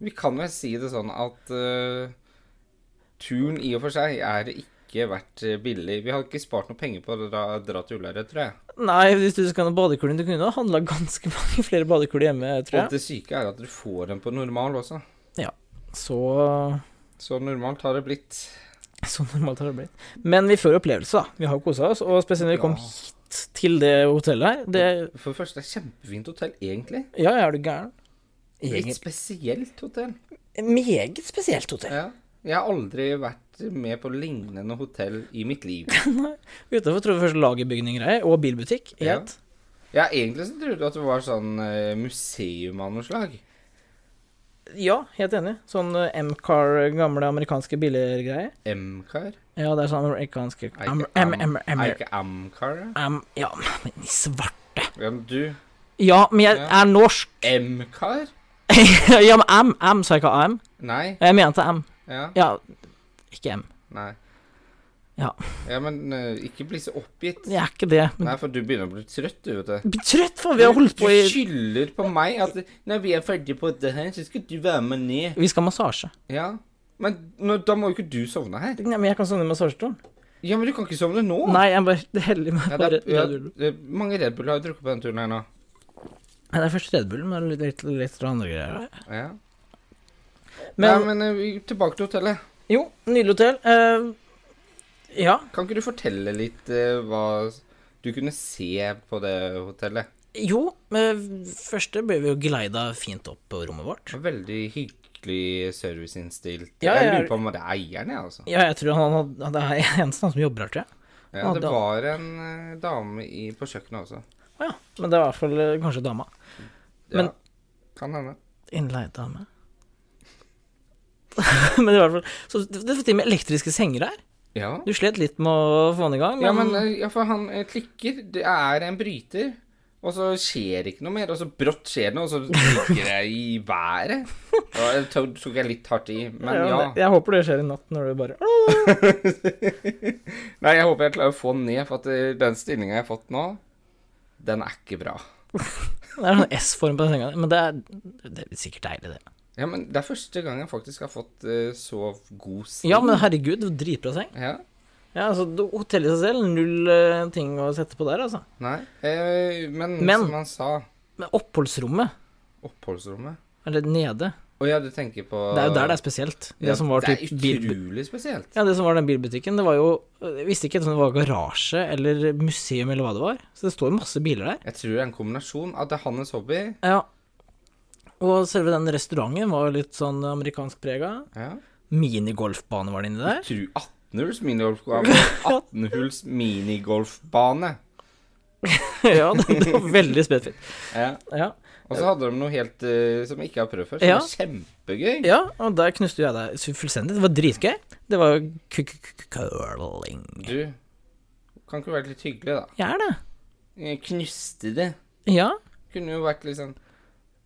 Speaker 2: Vi kan vel si det sånn at eh, turen i og for seg er ikke vært eh, billig. Vi har ikke spart noe penger på å dra, dra til Ullared, tror jeg.
Speaker 1: Nei, hvis du skal ha badekulene Du kunne jo handla ganske mange flere badekuler hjemme, tror
Speaker 2: Og
Speaker 1: jeg.
Speaker 2: det syke er at du får den på normal også.
Speaker 1: Så,
Speaker 2: Så normalt har det blitt.
Speaker 1: så normalt har det blitt. Men vi får opplevelse, da. Vi har kosa oss. Og spesielt når vi kom
Speaker 2: Ja.
Speaker 1: hit til det hotellet her. Det,
Speaker 2: For det første, det er kjempefint hotell, egentlig.
Speaker 1: ja, ja, er du gæren?
Speaker 2: Litt
Speaker 1: Egentlig-
Speaker 2: spesielt hotell.
Speaker 1: Meget spesielt hotell.
Speaker 2: Ja. Jeg har aldri vært med på lignende hotell i mitt liv.
Speaker 1: Utafor tror jeg først lagerbygning og greier, og bilbutikk. i
Speaker 2: Ja.
Speaker 1: ett.
Speaker 2: Jeg egentlig så trodde at det var sånn eh, museum av noe slag.
Speaker 1: Ja, helt enig. Sånn eh, M-car, gamle amerikanske biler greier.
Speaker 2: M-car.
Speaker 1: Ja, det er sånn amerikanske
Speaker 2: Er
Speaker 1: am,
Speaker 2: ikke
Speaker 1: am,
Speaker 2: am-
Speaker 1: am, am,
Speaker 2: Er ikke Amcar? da?
Speaker 1: am, Ja, men i svart
Speaker 2: Ja, men du
Speaker 1: Ja, men jeg
Speaker 2: Ja.
Speaker 1: er norsk.
Speaker 2: M-car?
Speaker 1: ja, men am, am, sa jeg ikke am.
Speaker 2: Nei.
Speaker 1: Jeg mente am.
Speaker 2: Ja.
Speaker 1: Ja, ikke am.
Speaker 2: Nei.
Speaker 1: Ja.
Speaker 2: ja, men eh, ikke bli så oppgitt.
Speaker 1: Det er ikke det. Men
Speaker 2: Nei, for du begynner å bli trøtt, du, vet du.
Speaker 1: blir trøtt, for vi har holdt på i
Speaker 2: Du skylder på meg at når vi er ferdige på det her, så skal du være med ned.
Speaker 1: Vi skal ha massasje.
Speaker 2: Ja. Men nå, da må jo ikke du sovne her.
Speaker 1: Nei, men jeg kan sovne i massasjestolen.
Speaker 2: Ja, men du kan ikke sovne nå.
Speaker 1: Nei, jeg bare det heller meg
Speaker 2: Ja,
Speaker 1: bare
Speaker 2: det, er, ja,
Speaker 1: Red Bull.
Speaker 2: det er mange Red Bull har drukket på den turen her nå.
Speaker 1: Nei, det er først Red Bull, men litt, litt, litt andre greier.
Speaker 2: Ja.
Speaker 1: Men
Speaker 2: Nei, men eh, vi- tilbake til hotellet.
Speaker 1: jo, nydelig hotell. Eh, ja.
Speaker 2: Kan ikke du fortelle litt eh, hva du kunne se på det hotellet?
Speaker 1: Jo, eh, første ble vi jo geleida fint opp på rommet vårt.
Speaker 2: Det var Veldig hyggelig serviceinnstilt.
Speaker 1: Ja,
Speaker 2: jeg
Speaker 1: ja,
Speaker 2: lurer på om det er eieren, jeg, altså.
Speaker 1: Ja, jeg tror han hadde Det er eneste han som jobber her, tror jeg.
Speaker 2: Ja, det
Speaker 1: da-
Speaker 2: var en eh, dame i, på kjøkkenet også.
Speaker 1: Å ja. Men det var i hvert fall eh, kanskje dama.
Speaker 2: Ja,
Speaker 1: Men-
Speaker 2: kan hende.
Speaker 1: Innleid dame. Men i hvert fall Så det det var til og med elektriske senger her.
Speaker 2: Ja.
Speaker 1: Du slet litt med å få den i gang, men,
Speaker 2: ja, men eh, ja, for han eh, klikker. Det er en bryter. Og så skjer det ikke noe mer, og så brått skjer det noe, og så ligger jeg i været. Ja, Det to- tok jeg litt hardt i, men
Speaker 1: Ja,
Speaker 2: ja.
Speaker 1: men Jeg håper det skjer i natt, når du bare
Speaker 2: Nei, jeg håper jeg klarer å få den ned, for at eh, den stillinga jeg har fått nå, den er ikke bra.
Speaker 1: Det er sånn S-form på den senga. Men det er, det er sikkert deilig, det.
Speaker 2: Ja, men det er første gang jeg faktisk har fått eh, så god stil.
Speaker 1: Ja, men herregud, det var dritbra seng.
Speaker 2: Ja,
Speaker 1: Ja, altså, det- Hotell i seg selv, null eh, ting å sette på der, altså.
Speaker 2: nei. Eh, men,
Speaker 1: Men-
Speaker 2: som han sa,
Speaker 1: Men oppholdsrommet,
Speaker 2: oppholdsrommet.
Speaker 1: eller nede,
Speaker 2: Å ja, du tenker på
Speaker 1: det er jo der det er spesielt. Det
Speaker 2: Ja,
Speaker 1: som var typ
Speaker 2: Det er
Speaker 1: bilbu-
Speaker 2: utrolig spesielt.
Speaker 1: Ja, det som var den bilbutikken, det var jo Jeg visste ikke om det var garasje eller museum eller hva det var. Så det står jo masse biler der.
Speaker 2: Jeg tror det er en kombinasjon at det er hans hobby.
Speaker 1: Ja. Og selve den restauranten var jo litt sånn amerikansk prega.
Speaker 2: Ja.
Speaker 1: Minigolfbane var det inni der.
Speaker 2: Tru 18-hulls minigolfbane. 18-hulls minigolfbane.
Speaker 1: ja, det, det var veldig spesifikt.
Speaker 2: Ja.
Speaker 1: Ja.
Speaker 2: Og så hadde de noe helt eh, som jeg ikke har prøvd før, som
Speaker 1: Ja.
Speaker 2: var kjempegøy.
Speaker 1: ja, og der knuste jeg deg så fullstendig. Det var dritgøy. Det var jo curling.
Speaker 2: Du, kan ikke du være litt hyggelig, da?
Speaker 1: Jeg er det.
Speaker 2: Eh, Knuste det.
Speaker 1: Ja.
Speaker 2: Kunne jo vært litt sånn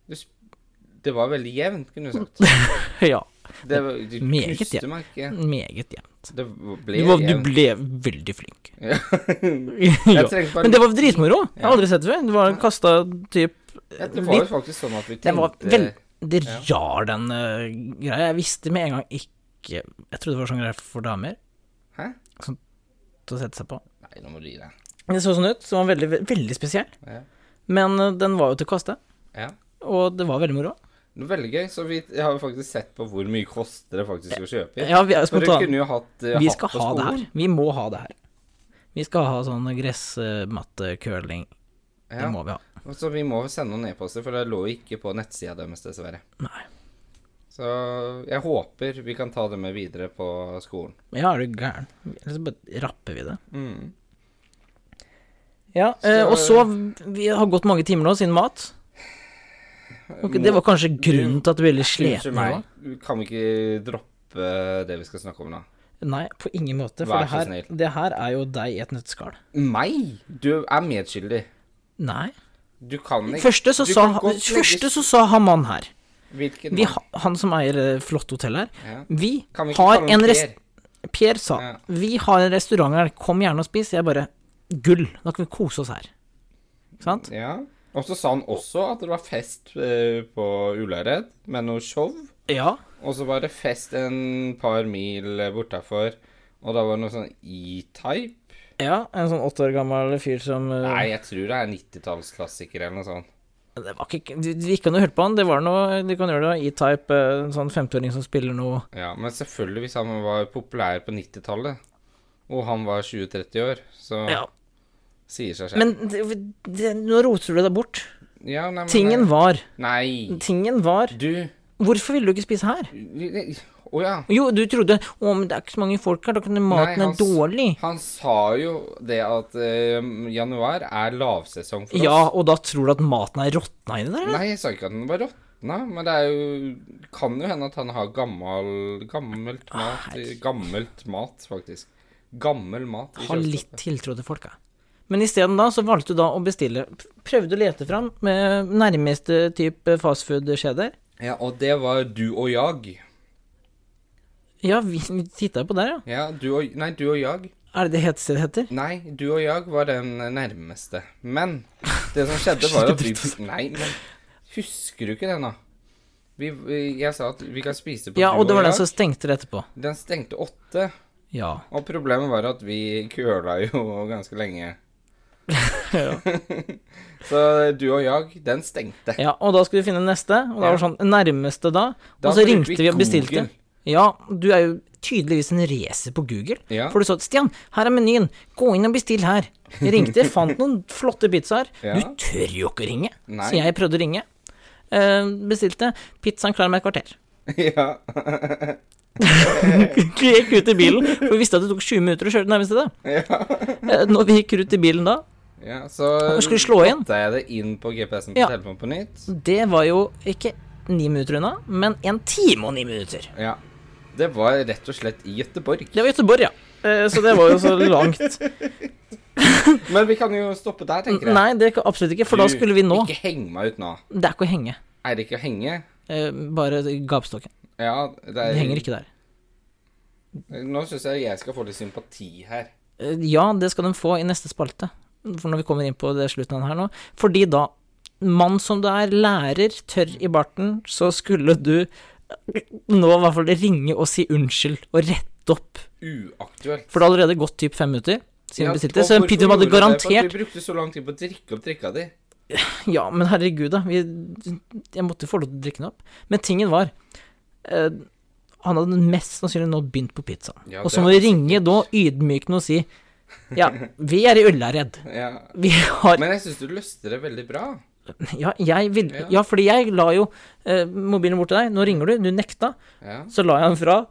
Speaker 2: du, sp- Det var veldig jevnt, kunne du sagt.
Speaker 1: Ja.
Speaker 2: Det var, du
Speaker 1: Meget
Speaker 2: knuste
Speaker 1: jevnt.
Speaker 2: meg ikke.
Speaker 1: Meget jevnt.
Speaker 2: Det
Speaker 1: Du,
Speaker 2: ble
Speaker 1: var- du
Speaker 2: jevnt.
Speaker 1: ble veldig flink.
Speaker 2: Ja.
Speaker 1: ja.
Speaker 2: Jeg trengte bare
Speaker 1: Men det var dritmoro. Jeg har
Speaker 2: Ja.
Speaker 1: aldri sett det før. Det var kasta typ
Speaker 2: Ja, Det var jo faktisk sånn at vi
Speaker 1: Det var
Speaker 2: tenkte
Speaker 1: veldig rar, den eh, greia. Jeg visste med en gang ikke ikke Jeg trodde det var sånn greie for damer
Speaker 2: Hæ?
Speaker 1: til å sette seg på.
Speaker 2: Nei, nå må du gi deg.
Speaker 1: Det så sånn ut. Den var veldig, veldig spesiell.
Speaker 2: Ja.
Speaker 1: Men eh, den var jo til Kåste,
Speaker 2: ja.
Speaker 1: og det var veldig moro.
Speaker 2: Det er veldig gøy. Så vi jeg har jo faktisk sett på hvor mye koster det faktisk å kjøpe.
Speaker 1: Ja, vi er
Speaker 2: For dere
Speaker 1: spontan.
Speaker 2: kunne jo hatt eh,
Speaker 1: Vi
Speaker 2: hatt
Speaker 1: skal
Speaker 2: på
Speaker 1: ha det her.
Speaker 2: skolen.
Speaker 1: Vi må ha det her. Vi skal ha sånn gressmatte-curling. Det
Speaker 2: Ja.
Speaker 1: må vi ha.
Speaker 2: Og Så vi må sende noen e-poster, for det lå ikke på nettsida deres, dessverre.
Speaker 1: Nei.
Speaker 2: Så jeg håper vi kan ta det med videre på skolen.
Speaker 1: Ja, er du gæren. Ellers bare rapper vi det.
Speaker 2: Mm.
Speaker 1: Ja, eh, og så Vi har gått mange timer nå, siden mat. Ok, det var kanskje grunnen til at du ble litt
Speaker 2: Unnskyld
Speaker 1: sliten. nå.
Speaker 2: meg, kan vi ikke droppe det vi skal snakke om nå?
Speaker 1: Nei, på ingen måte. For
Speaker 2: Vær
Speaker 1: det
Speaker 2: så
Speaker 1: her, det her er jo deg i et nøtteskall.
Speaker 2: Meg? Du er medskyldig.
Speaker 1: Nei.
Speaker 2: Du kan ikke
Speaker 1: Første så
Speaker 2: du
Speaker 1: sa,
Speaker 2: kan godt legge-
Speaker 1: første så sa han mann her,
Speaker 2: Hvilken
Speaker 1: vi, ha- han som eier eh, flott hotell her,
Speaker 2: Ja.
Speaker 1: vi,
Speaker 2: Kan vi ikke
Speaker 1: har
Speaker 2: kalle
Speaker 1: en
Speaker 2: den
Speaker 1: rest...
Speaker 2: Per?
Speaker 1: Per sa
Speaker 2: Ja.
Speaker 1: Vi har en restaurant her, kom gjerne og spis. Jeg bare Gull. Da kan vi kose oss her. Sant?
Speaker 2: Ja. Og så sa han også at det var fest eh, på Ulæred, med noe show.
Speaker 1: Ja.
Speaker 2: Og så var det fest en par mil bortafor, og da var det noe sånn E-type.
Speaker 1: ja en sånn åtte år gammel fyr som eh,
Speaker 2: Nei, jeg tror det er 90-tallsklassiker eller noe sånt.
Speaker 1: Det var ikke Du du gikk an å høre på han. Det var noe Du kan gjøre det. E-type, eh, en sånn 50-åring som spiller noe
Speaker 2: Ja, Men selvfølgelig, hvis han var populær på 90-tallet, og han var 20-30 år, så
Speaker 1: Ja.
Speaker 2: sier seg selv.
Speaker 1: Men det, det, nå roter du deg bort.
Speaker 2: ja, nei, men
Speaker 1: Tingen var
Speaker 2: Nei!
Speaker 1: Tingen var
Speaker 2: Du
Speaker 1: Hvorfor ville du ikke spise her?
Speaker 2: Å ja.
Speaker 1: Jo, du trodde Å, men det er ikke så mange folk her, da kan maten
Speaker 2: Nei,
Speaker 1: er
Speaker 2: han s-
Speaker 1: dårlig.
Speaker 2: Han sa jo det at eh, januar er lavsesong for
Speaker 1: Ja,
Speaker 2: oss.
Speaker 1: og da tror du at maten er råtna inni der? eller?
Speaker 2: Nei, jeg sa ikke at den var råtna, men det er jo Kan jo hende at han har gammal Gammelt mat Gammelt mat, faktisk. Gammel mat. i
Speaker 1: Ha litt
Speaker 2: kjøleskapet.
Speaker 1: tiltro til folka. Men isteden da, så valgte du da å bestille Prøvde å lete fram med nærmeste type fastfood-kjeder.
Speaker 2: Ja, og det var du og jag.
Speaker 1: Ja, vi titta på der, ja.
Speaker 2: Ja, du og Nei, du og jag.
Speaker 1: Er det det hetestedet heter?
Speaker 2: Nei, du og jeg var den nærmeste. Men det som skjedde, var jo at vi Nei, men husker du ikke den, da? Vi, vi- jeg sa at vi kan spise på
Speaker 1: Ja,
Speaker 2: du
Speaker 1: og det var den
Speaker 2: jeg.
Speaker 1: som stengte det etterpå.
Speaker 2: Den stengte åtte,
Speaker 1: Ja.
Speaker 2: og problemet var at vi køla jo ganske lenge.
Speaker 1: Ja.
Speaker 2: Så du og jeg, den stengte.
Speaker 1: ja. Og da skulle vi finne neste, og da var det sånn Nærmeste da.
Speaker 2: Da
Speaker 1: Og så
Speaker 2: brukte
Speaker 1: ringte vi og bestilte.
Speaker 2: Google.
Speaker 1: Ja, du er jo tydeligvis en racer på Google.
Speaker 2: Ja.
Speaker 1: For du sa Stian, her er menyen, gå inn og bestill her. Jeg ringte, fant noen flotte pizzaer.
Speaker 2: Ja.
Speaker 1: Du tør jo ikke å ringe,
Speaker 2: Nei.
Speaker 1: så jeg prøvde å ringe. Eh, bestilte. Pizzaen klar med et kvarter.
Speaker 2: ja.
Speaker 1: Vi gikk ut i bilen, for vi visste at det tok 20 minutter å kjøre til nærmeste sted. Eh, når vi gikk ut i bilen da,
Speaker 2: ja, så
Speaker 1: Jeg skulle slå inn.
Speaker 2: satte jeg det inn på GPS-en på
Speaker 1: Ja.
Speaker 2: telefonen på nytt.
Speaker 1: det var jo ikke ni minutter unna, men en time og ni minutter.
Speaker 2: Ja. Det var rett og slett i Gøteborg.
Speaker 1: Det var Göteborg, ja. Eh, så det var jo så langt.
Speaker 2: Men vi kan jo stoppe der, tenker jeg.
Speaker 1: Nei, det kan- absolutt ikke, for da
Speaker 2: Du,
Speaker 1: skulle vi nå.
Speaker 2: Ikke heng meg ut nå.
Speaker 1: Det er ikke å henge.
Speaker 2: Er det ikke å henge?
Speaker 1: Eh, bare gapstokken.
Speaker 2: Ja, det, er,
Speaker 1: Det henger ikke der.
Speaker 2: Nå syns jeg jeg skal få litt sympati her.
Speaker 1: Eh, Ja, det skal de få i neste spalte. For når vi kommer inn på det slutten av den her nå. Fordi da, mann som du er, lærer, tørr i barten, så skulle du nå i hvert fall ringe og si unnskyld, og rette opp.
Speaker 2: Uaktuelt.
Speaker 1: For det har allerede gått typ fem minutter siden du
Speaker 2: Ja, og
Speaker 1: bestilte, så en
Speaker 2: hvorfor
Speaker 1: pizza hadde
Speaker 2: gjorde du det? For
Speaker 1: garantert
Speaker 2: Vi brukte så lang tid på å drikke opp drikka di.
Speaker 1: Ja, men herregud, da. Vi, jeg måtte få lov til å drikke den opp. Men tingen var eh, Han hadde mest sannsynlig nå begynt på pizzaen.
Speaker 2: Ja,
Speaker 1: og
Speaker 2: det
Speaker 1: så må
Speaker 2: er
Speaker 1: vi ringe da ydmykende og si Ja, vi er i Ullared.
Speaker 2: Ja.
Speaker 1: Vi har
Speaker 2: Men jeg syns du løste det veldig bra.
Speaker 1: Ja, jeg vil,
Speaker 2: Ja.
Speaker 1: ja fordi jeg la jo eh, mobilen bort til deg. Nå ringer du, du nekta.
Speaker 2: Ja.
Speaker 1: Så la jeg den fra.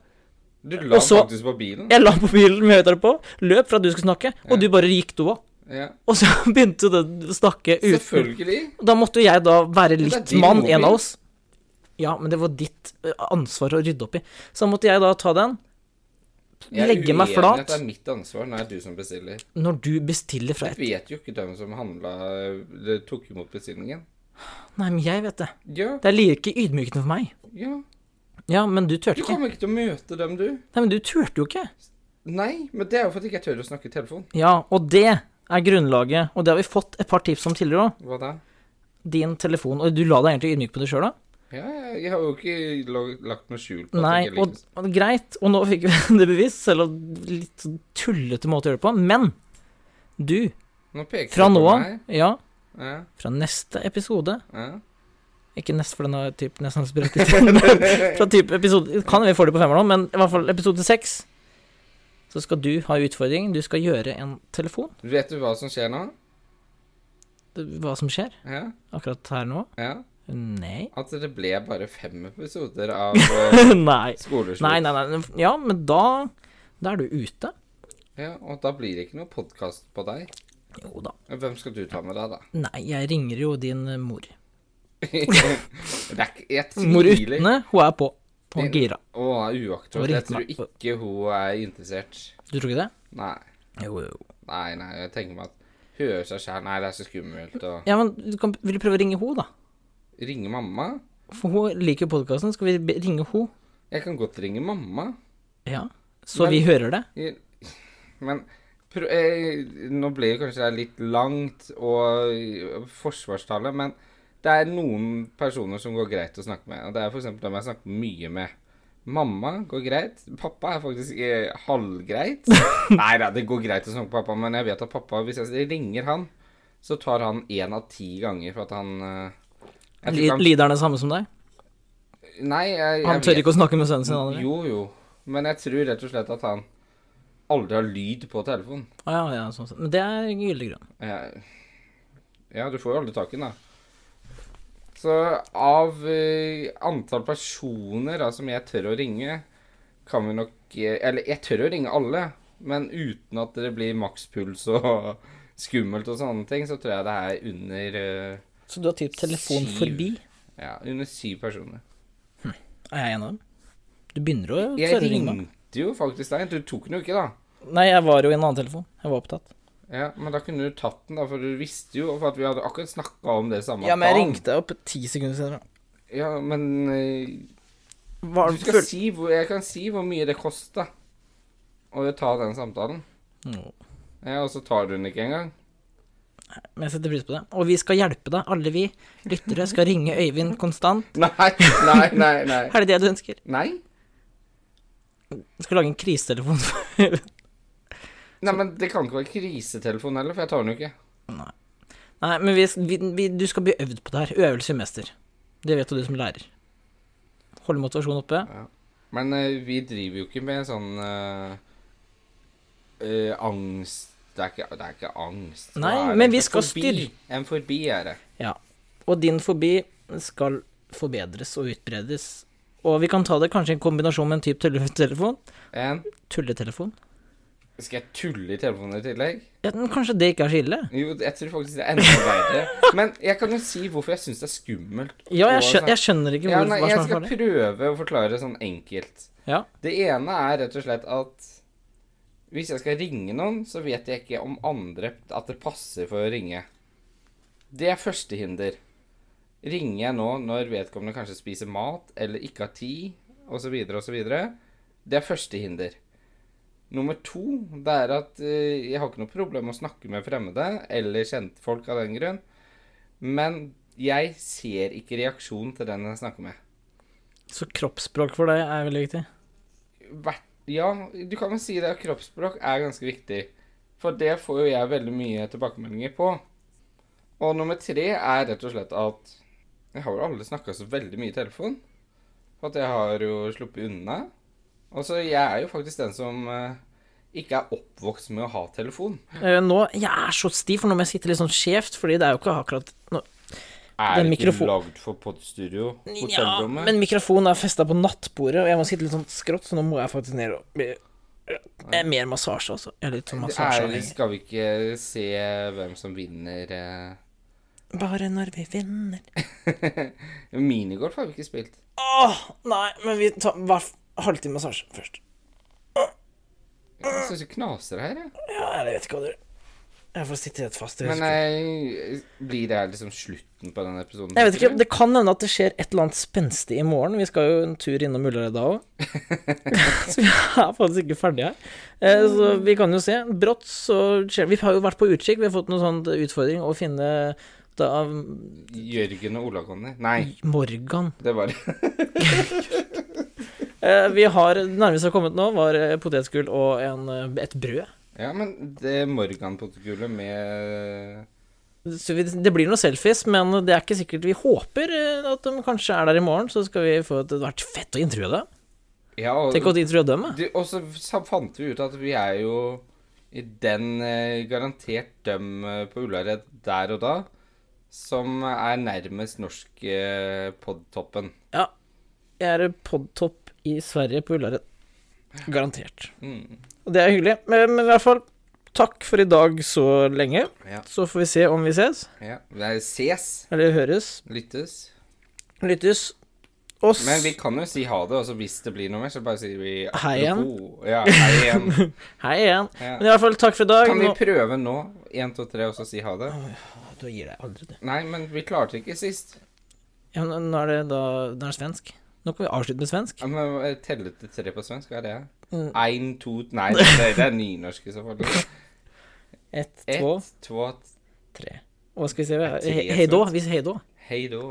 Speaker 2: Du la
Speaker 1: Og så-
Speaker 2: faktisk på bilen.
Speaker 1: Jeg la på bilen med høyttaler på, løp for at du skulle snakke, og du bare gikk do òg.
Speaker 2: Ja.
Speaker 1: Og så begynte den å snakke uten
Speaker 2: Selvfølgelig.
Speaker 1: Da måtte jo jeg da være
Speaker 2: det er
Speaker 1: litt
Speaker 2: din
Speaker 1: mann,
Speaker 2: mobil.
Speaker 1: en av oss. Ja, men det var ditt eh, ansvar å rydde opp i. Så måtte jeg da ta den.
Speaker 2: Jeg er
Speaker 1: Legge meg
Speaker 2: uenig i
Speaker 1: flat.
Speaker 2: at Det er mitt ansvar. Nå er det du som bestiller.
Speaker 1: Når du bestiller fra
Speaker 2: Jeg
Speaker 1: et
Speaker 2: vet jo ikke hvem som handla det Tok imot bestillingen.
Speaker 1: Nei, men jeg vet det.
Speaker 2: Ja,
Speaker 1: Det er like ydmykende for meg.
Speaker 2: ja.
Speaker 1: Ja, men du turte
Speaker 2: Du
Speaker 1: ikke.
Speaker 2: kommer ikke til å møte dem, du.
Speaker 1: Nei, men du turte jo ikke.
Speaker 2: Nei, men det er jo fordi jeg ikke tør å snakke i telefon.
Speaker 1: Ja, og det er grunnlaget, og det har vi fått et par tips om tidligere òg.
Speaker 2: Hva da?
Speaker 1: din telefon Og du la deg egentlig ydmyk på det sjøl, da?
Speaker 2: Ja, jeg, jeg har jo ikke lag- lagt noe skjul på
Speaker 1: Nei,
Speaker 2: at jeg ikke
Speaker 1: og,
Speaker 2: liker
Speaker 1: og greit, og nå fikk vi det bevis, selv om litt sånn tullete måte å gjøre det på, men du,
Speaker 2: Nå peker
Speaker 1: fra
Speaker 2: du på
Speaker 1: nå av,
Speaker 2: meg.
Speaker 1: ja,
Speaker 2: Ja,
Speaker 1: fra neste episode
Speaker 2: ja.
Speaker 1: Ikke neste, for den har typ nesten spredt litt. Fra typ episode Kan vi få det på femmer nå, men i hvert fall episode seks, så skal du ha utfordring. Du skal gjøre en telefon.
Speaker 2: Vet du hva som skjer nå?
Speaker 1: Hva som skjer
Speaker 2: Ja,
Speaker 1: akkurat her nå?
Speaker 2: ja.
Speaker 1: Nei.
Speaker 2: At det ble bare fem episoder av eh,
Speaker 1: nei.
Speaker 2: skoleslutt.
Speaker 1: Nei, nei, nei. Ja, men da Da er du ute.
Speaker 2: Ja, og da blir det ikke noe podkast på deg.
Speaker 1: Jo da.
Speaker 2: Hvem skal du ta med deg, da?
Speaker 1: Nei, jeg ringer jo din eh, mor.
Speaker 2: det er ikke Jeg
Speaker 1: Mor
Speaker 2: tviler.
Speaker 1: Utne, hun er på. Hun er gira.
Speaker 2: Å, uaktuelt. Jeg tror
Speaker 1: Mor uten-
Speaker 2: ikke hun er interessert.
Speaker 1: Du tror ikke det?
Speaker 2: Nei.
Speaker 1: Jo, jo.
Speaker 2: Nei, nei, jeg tenker meg at høre seg sjæl Nei, det er så skummelt å
Speaker 1: Ja, men du kan, vil du prøve å ringe henne, da?
Speaker 2: ringe mamma.
Speaker 1: For hun liker jo podkasten. Skal vi be- ringe henne?
Speaker 2: Jeg kan godt ringe mamma,
Speaker 1: Ja. Så
Speaker 2: Men-
Speaker 1: vi hører det?
Speaker 2: Jeg- men prø eh, Nå ble det kanskje det litt langt og eh, forsvarstale, men det er noen personer som går greit å snakke med. Og det er f.eks. dem jeg snakker mye med. Mamma går greit. Pappa er faktisk eh, halvgreit. Nei da, det går greit å snakke med pappa, men jeg vet at pappa, hvis jeg ringer han, så tar han én av ti ganger for at han eh, jeg tror
Speaker 1: Li-
Speaker 2: ikke han
Speaker 1: Lider han det samme som deg?
Speaker 2: Nei, jeg,
Speaker 1: Han
Speaker 2: jeg
Speaker 1: tør ikke å snakke med sønnen sin? han, eller?
Speaker 2: Jo, jo. Men jeg tror rett og slett at han aldri har lyd på telefonen.
Speaker 1: Å, ja, ja, sånn sett. Men det er gyldig grunn.
Speaker 2: Jeg- Eh, Ja, du får jo aldri tak i den, da. Så av eh, antall personer da, som jeg tør å ringe, kan vi nok eh, Eller jeg tør å ringe alle, men uten at det blir makspuls og skummelt og sånne ting, så tror jeg det er under eh,
Speaker 1: Så du har typ telefon
Speaker 2: Syv.
Speaker 1: forbi?
Speaker 2: Ja, under syv personer.
Speaker 1: Er jeg en av dem? Du begynner å
Speaker 2: Jeg
Speaker 1: tørre å ringe meg.
Speaker 2: ringte jo faktisk deg. Du tok den jo ikke, da.
Speaker 1: Nei, jeg var jo i en annen telefon. Jeg var opptatt.
Speaker 2: Ja, Men da kunne du tatt den, da, for du visste jo for at vi hadde akkurat snakka om det samme.
Speaker 1: Ja, men jeg
Speaker 2: dagen.
Speaker 1: ringte opp ti sekunder senere.
Speaker 2: Ja, men eh,
Speaker 1: Var
Speaker 2: du skal si hvor, Jeg kan si hvor mye det kosta å ta den samtalen.
Speaker 1: Nå.
Speaker 2: Ja, og så tar du den ikke engang.
Speaker 1: Men jeg setter pris på det. Og vi skal hjelpe deg. Alle vi lyttere skal ringe Øyvind konstant.
Speaker 2: Nei, nei, nei. Nei.
Speaker 1: Er det det du ønsker?
Speaker 2: Nei,
Speaker 1: Du skal lage en krisetelefon for Øyvind.
Speaker 2: nei men det kan ikke være krisetelefon heller, for jeg tar den jo ikke.
Speaker 1: Nei, men vi, vi, vi, du skal bli øvd på det her. Øvelse i mester. Det vet jo du som lærer. Holde motivasjonen oppe.
Speaker 2: Men eh, vi driver jo ikke med sånn eh, eh, angst det er, ikke, det er ikke angst. Hva
Speaker 1: Nei,
Speaker 2: er det?
Speaker 1: men vi
Speaker 2: En
Speaker 1: skal
Speaker 2: forbi.
Speaker 1: styr-
Speaker 2: En forbi er det.
Speaker 1: Ja. Og din fobi skal forbedres og utbredes. Og vi kan ta det kanskje i kombinasjon med en type tulletelefon.
Speaker 2: En
Speaker 1: Tulletelefon?
Speaker 2: Skal jeg tulle i telefonen i tillegg?
Speaker 1: Ja, men kanskje det ikke er så ille?
Speaker 2: Jo, jeg tror faktisk det er enda verre. Men jeg kan jo si hvorfor jeg syns det er skummelt.
Speaker 1: Ja, jeg,
Speaker 2: å
Speaker 1: skjø
Speaker 2: snakke-
Speaker 1: jeg skjønner ikke
Speaker 2: ja,
Speaker 1: hvor,
Speaker 2: nei,
Speaker 1: hva
Speaker 2: Jeg
Speaker 1: som er
Speaker 2: skal
Speaker 1: farlig.
Speaker 2: prøve å forklare det sånn enkelt.
Speaker 1: Ja.
Speaker 2: Det ene er rett og slett at hvis jeg skal ringe noen, så vet jeg ikke om andre at det passer for å ringe. Det er første hinder. Ringer jeg nå når vedkommende kanskje spiser mat eller ikke har tid, osv., osv.? Det er første hinder. Nummer to det er at eh, jeg har ikke noe problem med å snakke med fremmede eller kjentfolk av den grunn, men jeg ser ikke reaksjon til den jeg snakker med.
Speaker 1: Så kroppsspråk for deg er veldig viktig.
Speaker 2: vært Ja, du kan vel si det at kroppsspråk er ganske viktig. For det får jo jeg veldig mye tilbakemeldinger på. Og nummer tre er rett og slett at jeg har vel aldri snakka så veldig mye i telefon. For at jeg har jo sluppet unna. Og så jeg er jo faktisk den som eh, ikke er oppvokst med å ha telefon.
Speaker 1: Eh, nå, Jeg er så stiv, for nå må jeg sitte litt sånn skjevt, fordi det er jo ikke akkurat nå,
Speaker 2: Er
Speaker 1: Den
Speaker 2: det ikke
Speaker 1: mikrofon-
Speaker 2: lagd for podstudio?
Speaker 1: ja,
Speaker 2: Hotellrommet?
Speaker 1: Men mikrofonen er festa på nattbordet, og jeg må sitte litt sånn skrått, så nå må jeg faktisk ned og bli Eh, Mer massasje, altså. Jeg er litt sånn
Speaker 2: Det er,
Speaker 1: massasjeavhengig.
Speaker 2: skal vi ikke se hvem som vinner eh,
Speaker 1: Bare når vi vinner
Speaker 2: Minigolf har vi ikke spilt.
Speaker 1: Åh, nei, men vi tar hver halvtime massasje først.
Speaker 2: Jeg syns det knaser her, jeg. Ja.
Speaker 1: Ja, jeg vet ikke hva du Jeg får sitte helt fast. Jeg,
Speaker 2: Men
Speaker 1: husker.
Speaker 2: eh, blir det her liksom slutten på denne episoden?
Speaker 1: jeg vet ikke,
Speaker 2: tenker du?
Speaker 1: Det kan hende at det skjer et eller annet spenstig i morgen. Vi skal jo en tur innom Ullared da òg. så vi er faktisk ikke ferdige her. Eh, så vi kan jo se. Brått så skjer Vi har jo vært på utkikk. Vi har fått noen sånn utfordring å finne ofte av
Speaker 2: Jørgen og Ola Conny. Nei,
Speaker 1: Morgan.
Speaker 2: det var
Speaker 1: Eh, vi har nærmest har kommet nå, var eh, potetgull og en, eh, et brød.
Speaker 2: Ja, men det Morgan-protokollet med
Speaker 1: Så vi, det blir noen selfies, men det er ikke sikkert vi håper eh, at de kanskje er der i morgen, så skal vi få et, det hadde vært fett å intervjue dem.
Speaker 2: Ja, og,
Speaker 1: Tenk å intervjue dem, da.
Speaker 2: du, og så sa- fant vi ut at vi er jo i den eh, garantert dem eh, på Ullared der og da som er nærmest norsk eh, podtoppen.
Speaker 1: Ja. Jeg er podtopp i Sverige på Ullared. Garantert.
Speaker 2: Mm.
Speaker 1: Og det er hyggelig. Men, men i hvert fall, takk for i dag så lenge.
Speaker 2: Ja.
Speaker 1: Så får vi se om vi ses,
Speaker 2: ja. Det er ses,
Speaker 1: eller høres,
Speaker 2: lyttes.
Speaker 1: lyttes. Oss
Speaker 2: Men vi kan jo si ha det, og så hvis det blir noe mer, så bare sier vi
Speaker 1: Hei igjen.
Speaker 2: apropos. Ja, hei igjen.
Speaker 1: Hei igjen.
Speaker 2: Ja.
Speaker 1: Men i hvert fall, takk for i dag.
Speaker 2: Kan vi
Speaker 1: Nå...
Speaker 2: prøve nå, én, to, tre, og så si ha det?
Speaker 1: Du gir deg aldri, du.
Speaker 2: Nei, men vi klarte ikke sist.
Speaker 1: Ja, men nå er det da Nå er det svensk. Nå kan vi avslutte med svensk.
Speaker 2: Ja, men eh, Telle til tre på svensk, hva er det?
Speaker 1: Mm.
Speaker 2: Ein, to Nei, det er, det er nynorsk i så fall.
Speaker 1: Ett,
Speaker 2: Ett,
Speaker 1: to,
Speaker 2: två,
Speaker 1: tre. Og hva skal vi se
Speaker 2: Ja, tre,
Speaker 1: Hei hei då.
Speaker 2: sant.
Speaker 1: Vi sier hei då.
Speaker 2: hei då.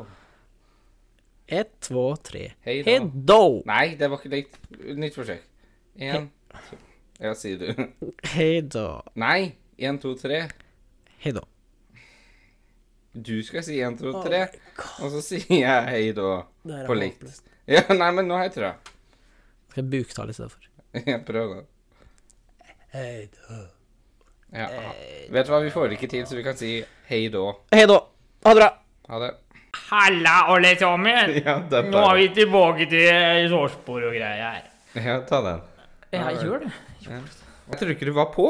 Speaker 1: Ett, to, tre.
Speaker 2: Hei
Speaker 1: Hei
Speaker 2: då.
Speaker 1: då.
Speaker 2: Nei, det var ikke likt. Nytt forsøk. Én, to Ja, sier du.
Speaker 1: Hei då.
Speaker 2: Nei. Én, to, tre.
Speaker 1: Hei då.
Speaker 2: Du skal si én, to,
Speaker 1: Oh
Speaker 2: tre.
Speaker 1: my God.
Speaker 2: Og så sier jeg hei då.
Speaker 1: Det her er
Speaker 2: På likt.
Speaker 1: håpløst.
Speaker 2: Ja, nei, men nå har jeg trøa.
Speaker 1: Skal jeg buktale i stedet for?
Speaker 2: Jeg prøver.
Speaker 1: Hei då.
Speaker 2: Ja.
Speaker 1: Eh,
Speaker 2: Vet du hva, vi får det ikke til, så vi kan si hei då.
Speaker 1: Hei då. Ha det bra.
Speaker 2: Ha det.
Speaker 3: Halla, alle sammen!
Speaker 2: Ja, det er
Speaker 3: Nå er
Speaker 2: bra.
Speaker 3: vi tilbake til sårspor og greier her.
Speaker 2: Ja, ta den.
Speaker 1: Jeg gjør det.
Speaker 2: Jeg tror ikke du var på.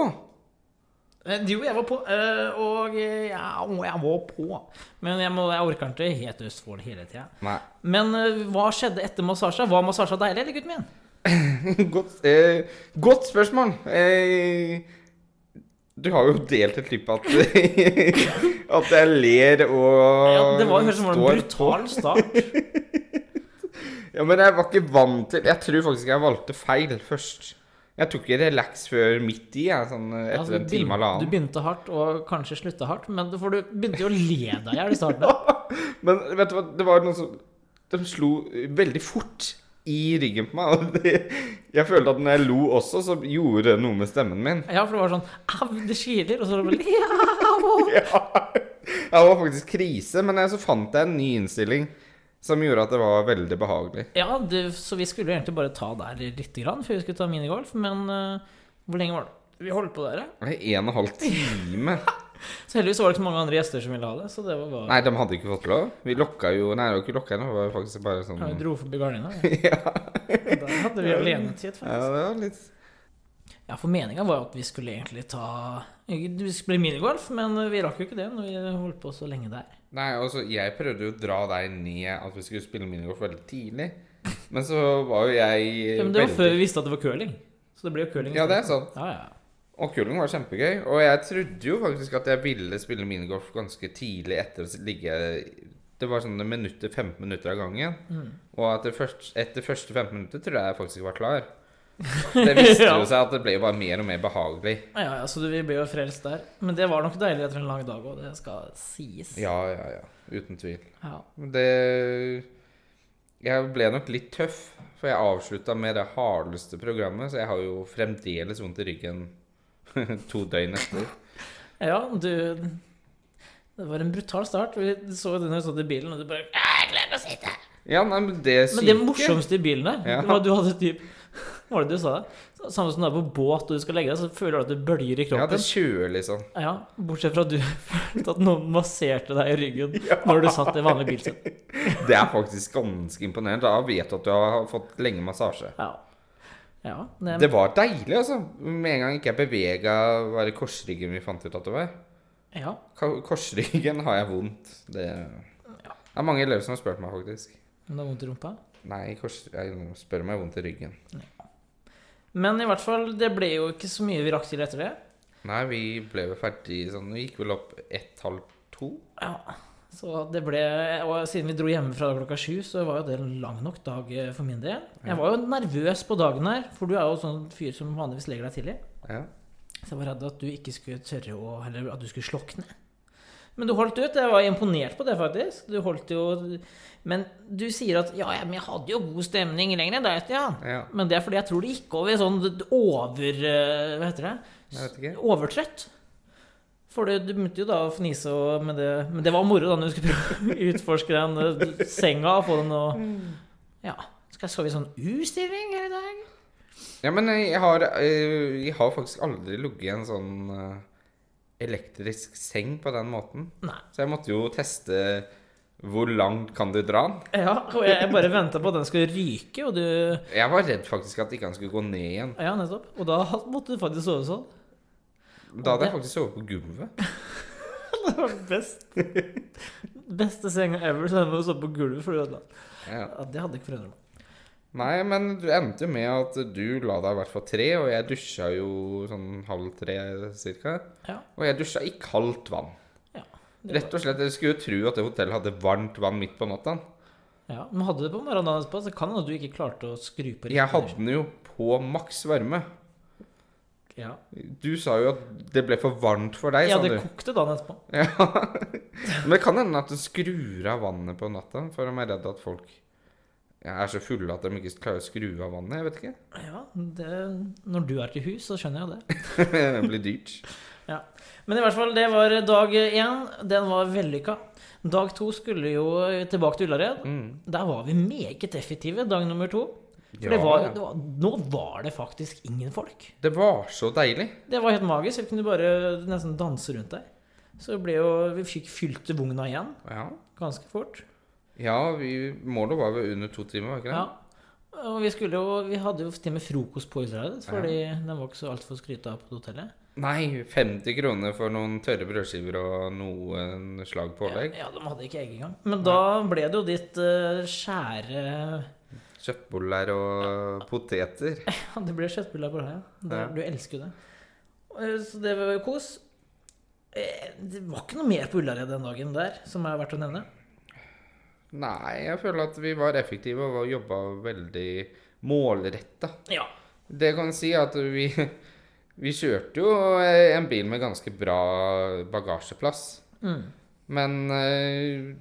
Speaker 1: Eh, Jo, jeg var på, eh, og eh, ja, å, jeg var på. Men jeg, må, jeg orker ikke helt Østfold hele tida.
Speaker 2: Nei.
Speaker 1: Men eh, hva skjedde etter massasje? Var massasje deilig, eller, gutten min?
Speaker 2: Godt, eh, godt spørsmål. Eh, du har jo delt et klipp at, at jeg ler og
Speaker 1: Ja, det var høres ut som det var en
Speaker 2: står på.
Speaker 1: brutal start.
Speaker 2: Ja, Men jeg var ikke vant til Jeg tror faktisk jeg valgte feil først. Jeg tok ikke relax før midt i, jeg, sånn eh, etter
Speaker 1: Altså, du
Speaker 2: en time
Speaker 1: begyn-
Speaker 2: eller
Speaker 1: Du
Speaker 2: annen.
Speaker 1: begynte hardt, og kanskje slutta hardt, men for du begynte jo å le deg i hjel i starten.
Speaker 2: Men vet du hva, det var noen som De slo veldig fort i ryggen på meg. Og det, jeg følte at når jeg lo også, så gjorde det noe med stemmen min.
Speaker 1: Ja, for det var sånn Au, det kiler, og så var det bare, «Au!»
Speaker 2: Ja. Det var faktisk krise, men jeg- så fant jeg en ny innstilling som gjorde at det var veldig behagelig.
Speaker 1: Ja, det, så vi skulle jo egentlig bare ta der lite grann før vi skulle ta minigolf, men eh, hvor lenge var det? Vi holdt på der, ja.
Speaker 2: Det var en og en halv time.
Speaker 1: Så heldigvis var det ikke så mange andre gjester som ville ha det, så det var bare
Speaker 2: Nei, de hadde ikke fått lov. Vi lokka jo Nei, det var ikke lokka, det var faktisk bare
Speaker 1: ja, Vi
Speaker 2: sånn
Speaker 1: dro forbi gardina. Ja. Der hadde vi alenetid,
Speaker 2: Ja,
Speaker 1: faktisk.
Speaker 2: det var litt
Speaker 1: Ja, for meninga var jo at vi skulle egentlig ta Det skulle bli minigolf, men vi rakk jo ikke det når vi holdt på så lenge der.
Speaker 2: Nei, altså, jeg prøvde jo å dra deg ned at vi skulle spille minigolf veldig tidlig, men så var jo jeg
Speaker 1: Ja, men det var før vi visste at det var curling. Så det ble jo curling.
Speaker 2: Ja, det er
Speaker 1: isteden.
Speaker 2: sant.
Speaker 1: Ja, ja.
Speaker 2: Og curling var kjempegøy. Og jeg trodde jo faktisk at jeg ville spille minigolf ganske tidlig etter å ligge Det var sånn minutter, 15 minutter av gangen.
Speaker 1: Mm.
Speaker 2: Og at det først, etter første 15 minutter tror jeg jeg faktisk ikke var klar. Det viste
Speaker 1: Ja.
Speaker 2: jo seg at det ble jo bare mer og mer behagelig.
Speaker 1: Ja, ja, så du- vi ble jo frelst der. Men det var nok deilig etter en lang dag òg, det skal sies.
Speaker 2: Ja, ja, ja. Uten tvil.
Speaker 1: Ja.
Speaker 2: Men Det Jeg ble nok litt tøff, for jeg avslutta med det hardeste programmet, så jeg har jo fremdeles vondt i ryggen to døgn etter.
Speaker 1: Ja, du Det var en brutal start. Vi så jo det når vi satt i bilen, og du bare «Ah, Jeg klarer ikke å sitte!
Speaker 2: Ja, nei, men det syke
Speaker 1: Men det morsomste i bilen der,
Speaker 2: Ja.
Speaker 1: det var at du hadde typ Hva var det du sa? Samme som du er på båt og du skal legge deg, så føler du at du bølger i
Speaker 2: Ja,
Speaker 1: kroppen.
Speaker 2: det kjører liksom.
Speaker 1: Ja, Bortsett fra at du følte at noen masserte deg i ryggen når du satt i vanlig bilsett.
Speaker 2: Det er faktisk ganske imponerende. Da vet du at du har fått lenge massasje.
Speaker 1: Ja. ja nei,
Speaker 2: Det var deilig, altså. Med en gang ikke jeg bevega Var det korsryggen vi fant ut at det var?
Speaker 1: ja.
Speaker 2: Ka- Korsryggen har jeg vondt. Det det er mange elever som har spurt meg, faktisk.
Speaker 1: Men det har vondt i rumpa?
Speaker 2: Nei, kors... jeg spør om jeg har vondt i ryggen.
Speaker 1: Men i hvert fall, det ble jo ikke så mye vi rakk til etter det.
Speaker 2: Nei, vi ble vel ferdig sånn Vi gikk vel opp ett, halv to?
Speaker 1: Ja, så det ble, Og siden vi dro hjemmefra klokka sju, så var jo det en lang nok dag eh, for min del. Jeg var jo nervøs på dagen her, for du er jo sånn fyr som vanligvis legger deg tidlig.
Speaker 2: Ja.
Speaker 1: Så jeg var redd at du ikke skulle tørre å Eller at du skulle slokne. Men du holdt ut. Jeg var imponert på det, faktisk. Du holdt jo Men du sier at 'ja, ja, men jeg hadde jo god stemning lenger enn deg', Stian.
Speaker 2: Ja.
Speaker 1: Men det er fordi jeg tror det gikk over i sånn d- over... eh, Hva heter det?
Speaker 2: Jeg vet ikke.
Speaker 1: Overtrøtt. For du, du begynte jo da å fnise og Men det, men det var moro da når du skulle prøve å utforske den eh, senga og få den og Ja. Skal, skal vi sånn U-stilling her i dag?
Speaker 2: Ja, men jeg har, eh, jeg har faktisk aldri ligget i en sånn eh, elektrisk seng på den måten.
Speaker 1: Nei.
Speaker 2: Så jeg måtte jo teste hvor langt kan du dra den.
Speaker 1: Ja, og jeg jeg bare venta på at den skulle ryke, og du
Speaker 2: Jeg var redd faktisk at ikke han skulle gå ned igjen.
Speaker 1: Ja, nettopp. Og da måtte du faktisk sove sånn.
Speaker 2: Da hadde jeg faktisk sovet på gulvet.
Speaker 1: Det var best. Beste senga ever, så den må sove på gulvet. For du hadde-
Speaker 2: Ja.
Speaker 1: ja, det hadde ikke forundret meg.
Speaker 2: Nei, men du endte jo med at du la deg i hvert fall tre, og jeg dusja jo sånn halv tre cirka.
Speaker 1: Ja.
Speaker 2: Og jeg dusja i kaldt vann.
Speaker 1: Ja,
Speaker 2: Rett og slett, jeg skulle jo tro at det hotellet hadde varmt vann midt på natta.
Speaker 1: Ja, Men hadde du det på morgenen dagen etterpå, så kan det hende at du ikke klarte å skru på
Speaker 2: Jeg hadde den jo på maks varme.
Speaker 1: Ja,
Speaker 2: Du sa jo at det ble for varmt for deg,
Speaker 1: ja
Speaker 2: sa
Speaker 1: det
Speaker 2: du.
Speaker 1: kokte dagen etterpå.
Speaker 2: Men det kan hende at du skrur av vannet på natta, for de er redd at folk er så fulle at de ikke klarer å skru av vannet. Jeg vet ikke.
Speaker 1: Ja, det, Når du er til hus, så skjønner jeg jo det.
Speaker 2: det blir dyrt.
Speaker 1: Ja. Men i hvert fall, det var dag én. Den var vellykka. Dag to skulle jo tilbake til Ullared.
Speaker 2: Mm.
Speaker 1: Der var vi meget effektive dag nummer to. For
Speaker 2: Ja,
Speaker 1: det var,
Speaker 2: ja.
Speaker 1: det var, nå var det faktisk ingen folk.
Speaker 2: Det var så deilig.
Speaker 1: Det var helt magisk. Vi kunne bare nesten danse rundt der. Så det ble jo, vi fikk fylt vogna igjen
Speaker 2: Ja.
Speaker 1: ganske fort.
Speaker 2: Ja, vi, målet var vel under to timer, var ikke det?
Speaker 1: Ja. Og vi, skulle jo, vi hadde jo til og med frokost på Israel, fordi den var ikke så altfor skryta av på hotellet.
Speaker 2: Nei, 50 kroner for noen tørre brødskiver og noen slag pålegg.
Speaker 1: Ja, de hadde ikke egg engang. Men da ble det jo ditt eh, skjære
Speaker 2: Kjøttboller og poteter.
Speaker 1: Ja, det ble kjøttbuller på deg, ja. Det,
Speaker 2: Ja.
Speaker 1: Du elsker jo det. Eh, Så det var jo kos. Eh, Det var ikke noe mer på Ullared den dagen der som er verdt å nevne.
Speaker 2: Nei, jeg føler at vi var effektive og var- jobba veldig målretta.
Speaker 1: Ja.
Speaker 2: Det kan si at vi, vi kjørte jo en bil med ganske bra bagasjeplass.
Speaker 1: Mm.
Speaker 2: Men eh,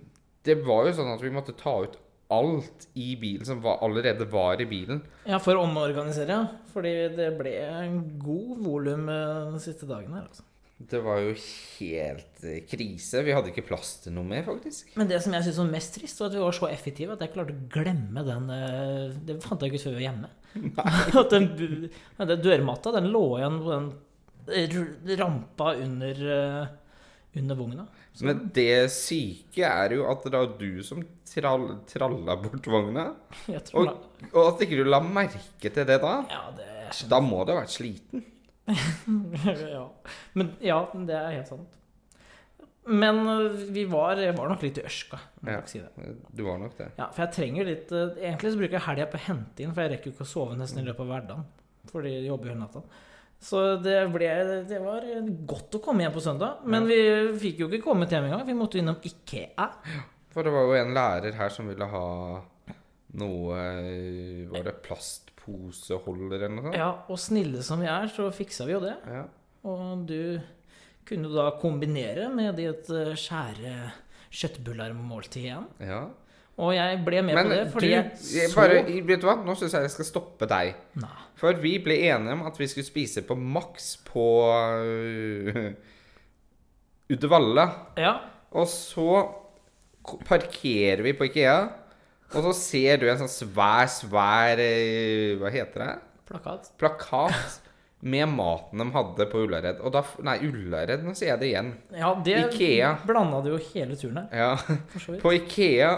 Speaker 2: det var jo sånn at vi måtte ta ut alt i bilen som var, allerede var i bilen.
Speaker 1: Ja, for å omorganisere, ja. Fordi det ble en god volum eh, den siste dagen her, altså.
Speaker 2: Det var jo helt eh, krise. Vi hadde ikke plass til noe mer, faktisk.
Speaker 1: Men det som jeg syntes var mest trist, var at vi var så effektive at jeg klarte å glemme den eh, Det fant jeg ikke ut før vi var hjemme. at den, bu- ja, den dørmatta, den lå igjen på den r- rampa under, eh, under vogna.
Speaker 2: Men det syke er jo at det var du som trall, tralla bort vogna.
Speaker 1: Jeg tror
Speaker 2: Og,
Speaker 1: da
Speaker 2: og at ikke du la merke til det da.
Speaker 1: Ja, det er sånn.
Speaker 2: Da må du ha vært sliten.
Speaker 1: ja. Men ja, det er helt sant. Men eh, vi var, jeg var nok litt i ørska, må jeg
Speaker 2: Ja.
Speaker 1: nok si det.
Speaker 2: Du var nok det.
Speaker 1: Ja, for jeg trenger litt eh, Egentlig så bruker jeg helga på å hente inn, for jeg rekker jo ikke å sove nesten i løpet av hverdagen. Fordi jeg jobber jo hele natta. Så det, ble, det var godt å komme hjem på søndag. Men vi fikk jo ikke kommet hjem engang. Vi måtte innom Ikea.
Speaker 2: For det var jo en lærer her som ville ha noe eh, Var det plastposeholder eller noe sånt?
Speaker 1: Ja, og snille som vi er, så fiksa vi jo det.
Speaker 2: Ja.
Speaker 1: Og du kunne jo da kombinere med ditt eh, skjære kjøttbullermåltid igjen.
Speaker 2: ja.
Speaker 1: Og jeg ble med
Speaker 2: Men
Speaker 1: på det
Speaker 2: du,
Speaker 1: fordi jeg
Speaker 2: jeg
Speaker 1: så
Speaker 2: bare, vet du hva? Nå syns jeg jeg skal stoppe deg.
Speaker 1: Nei.
Speaker 2: For vi ble enige om at vi skulle spise på maks på øh, Uddevalla.
Speaker 1: Ja.
Speaker 2: Og så ko- parkerer vi på Ikea, og så ser du en sånn svær, svær øh, Hva heter det?
Speaker 1: Plakat.
Speaker 2: Plakat med maten de hadde på Ullared. Og da f- Nei, Ullared, nå sier jeg det igjen.
Speaker 1: Ja, det
Speaker 2: Ikea.
Speaker 1: blanda det jo hele turen her,
Speaker 2: Ja.
Speaker 1: for så vidt.
Speaker 2: På Ikea,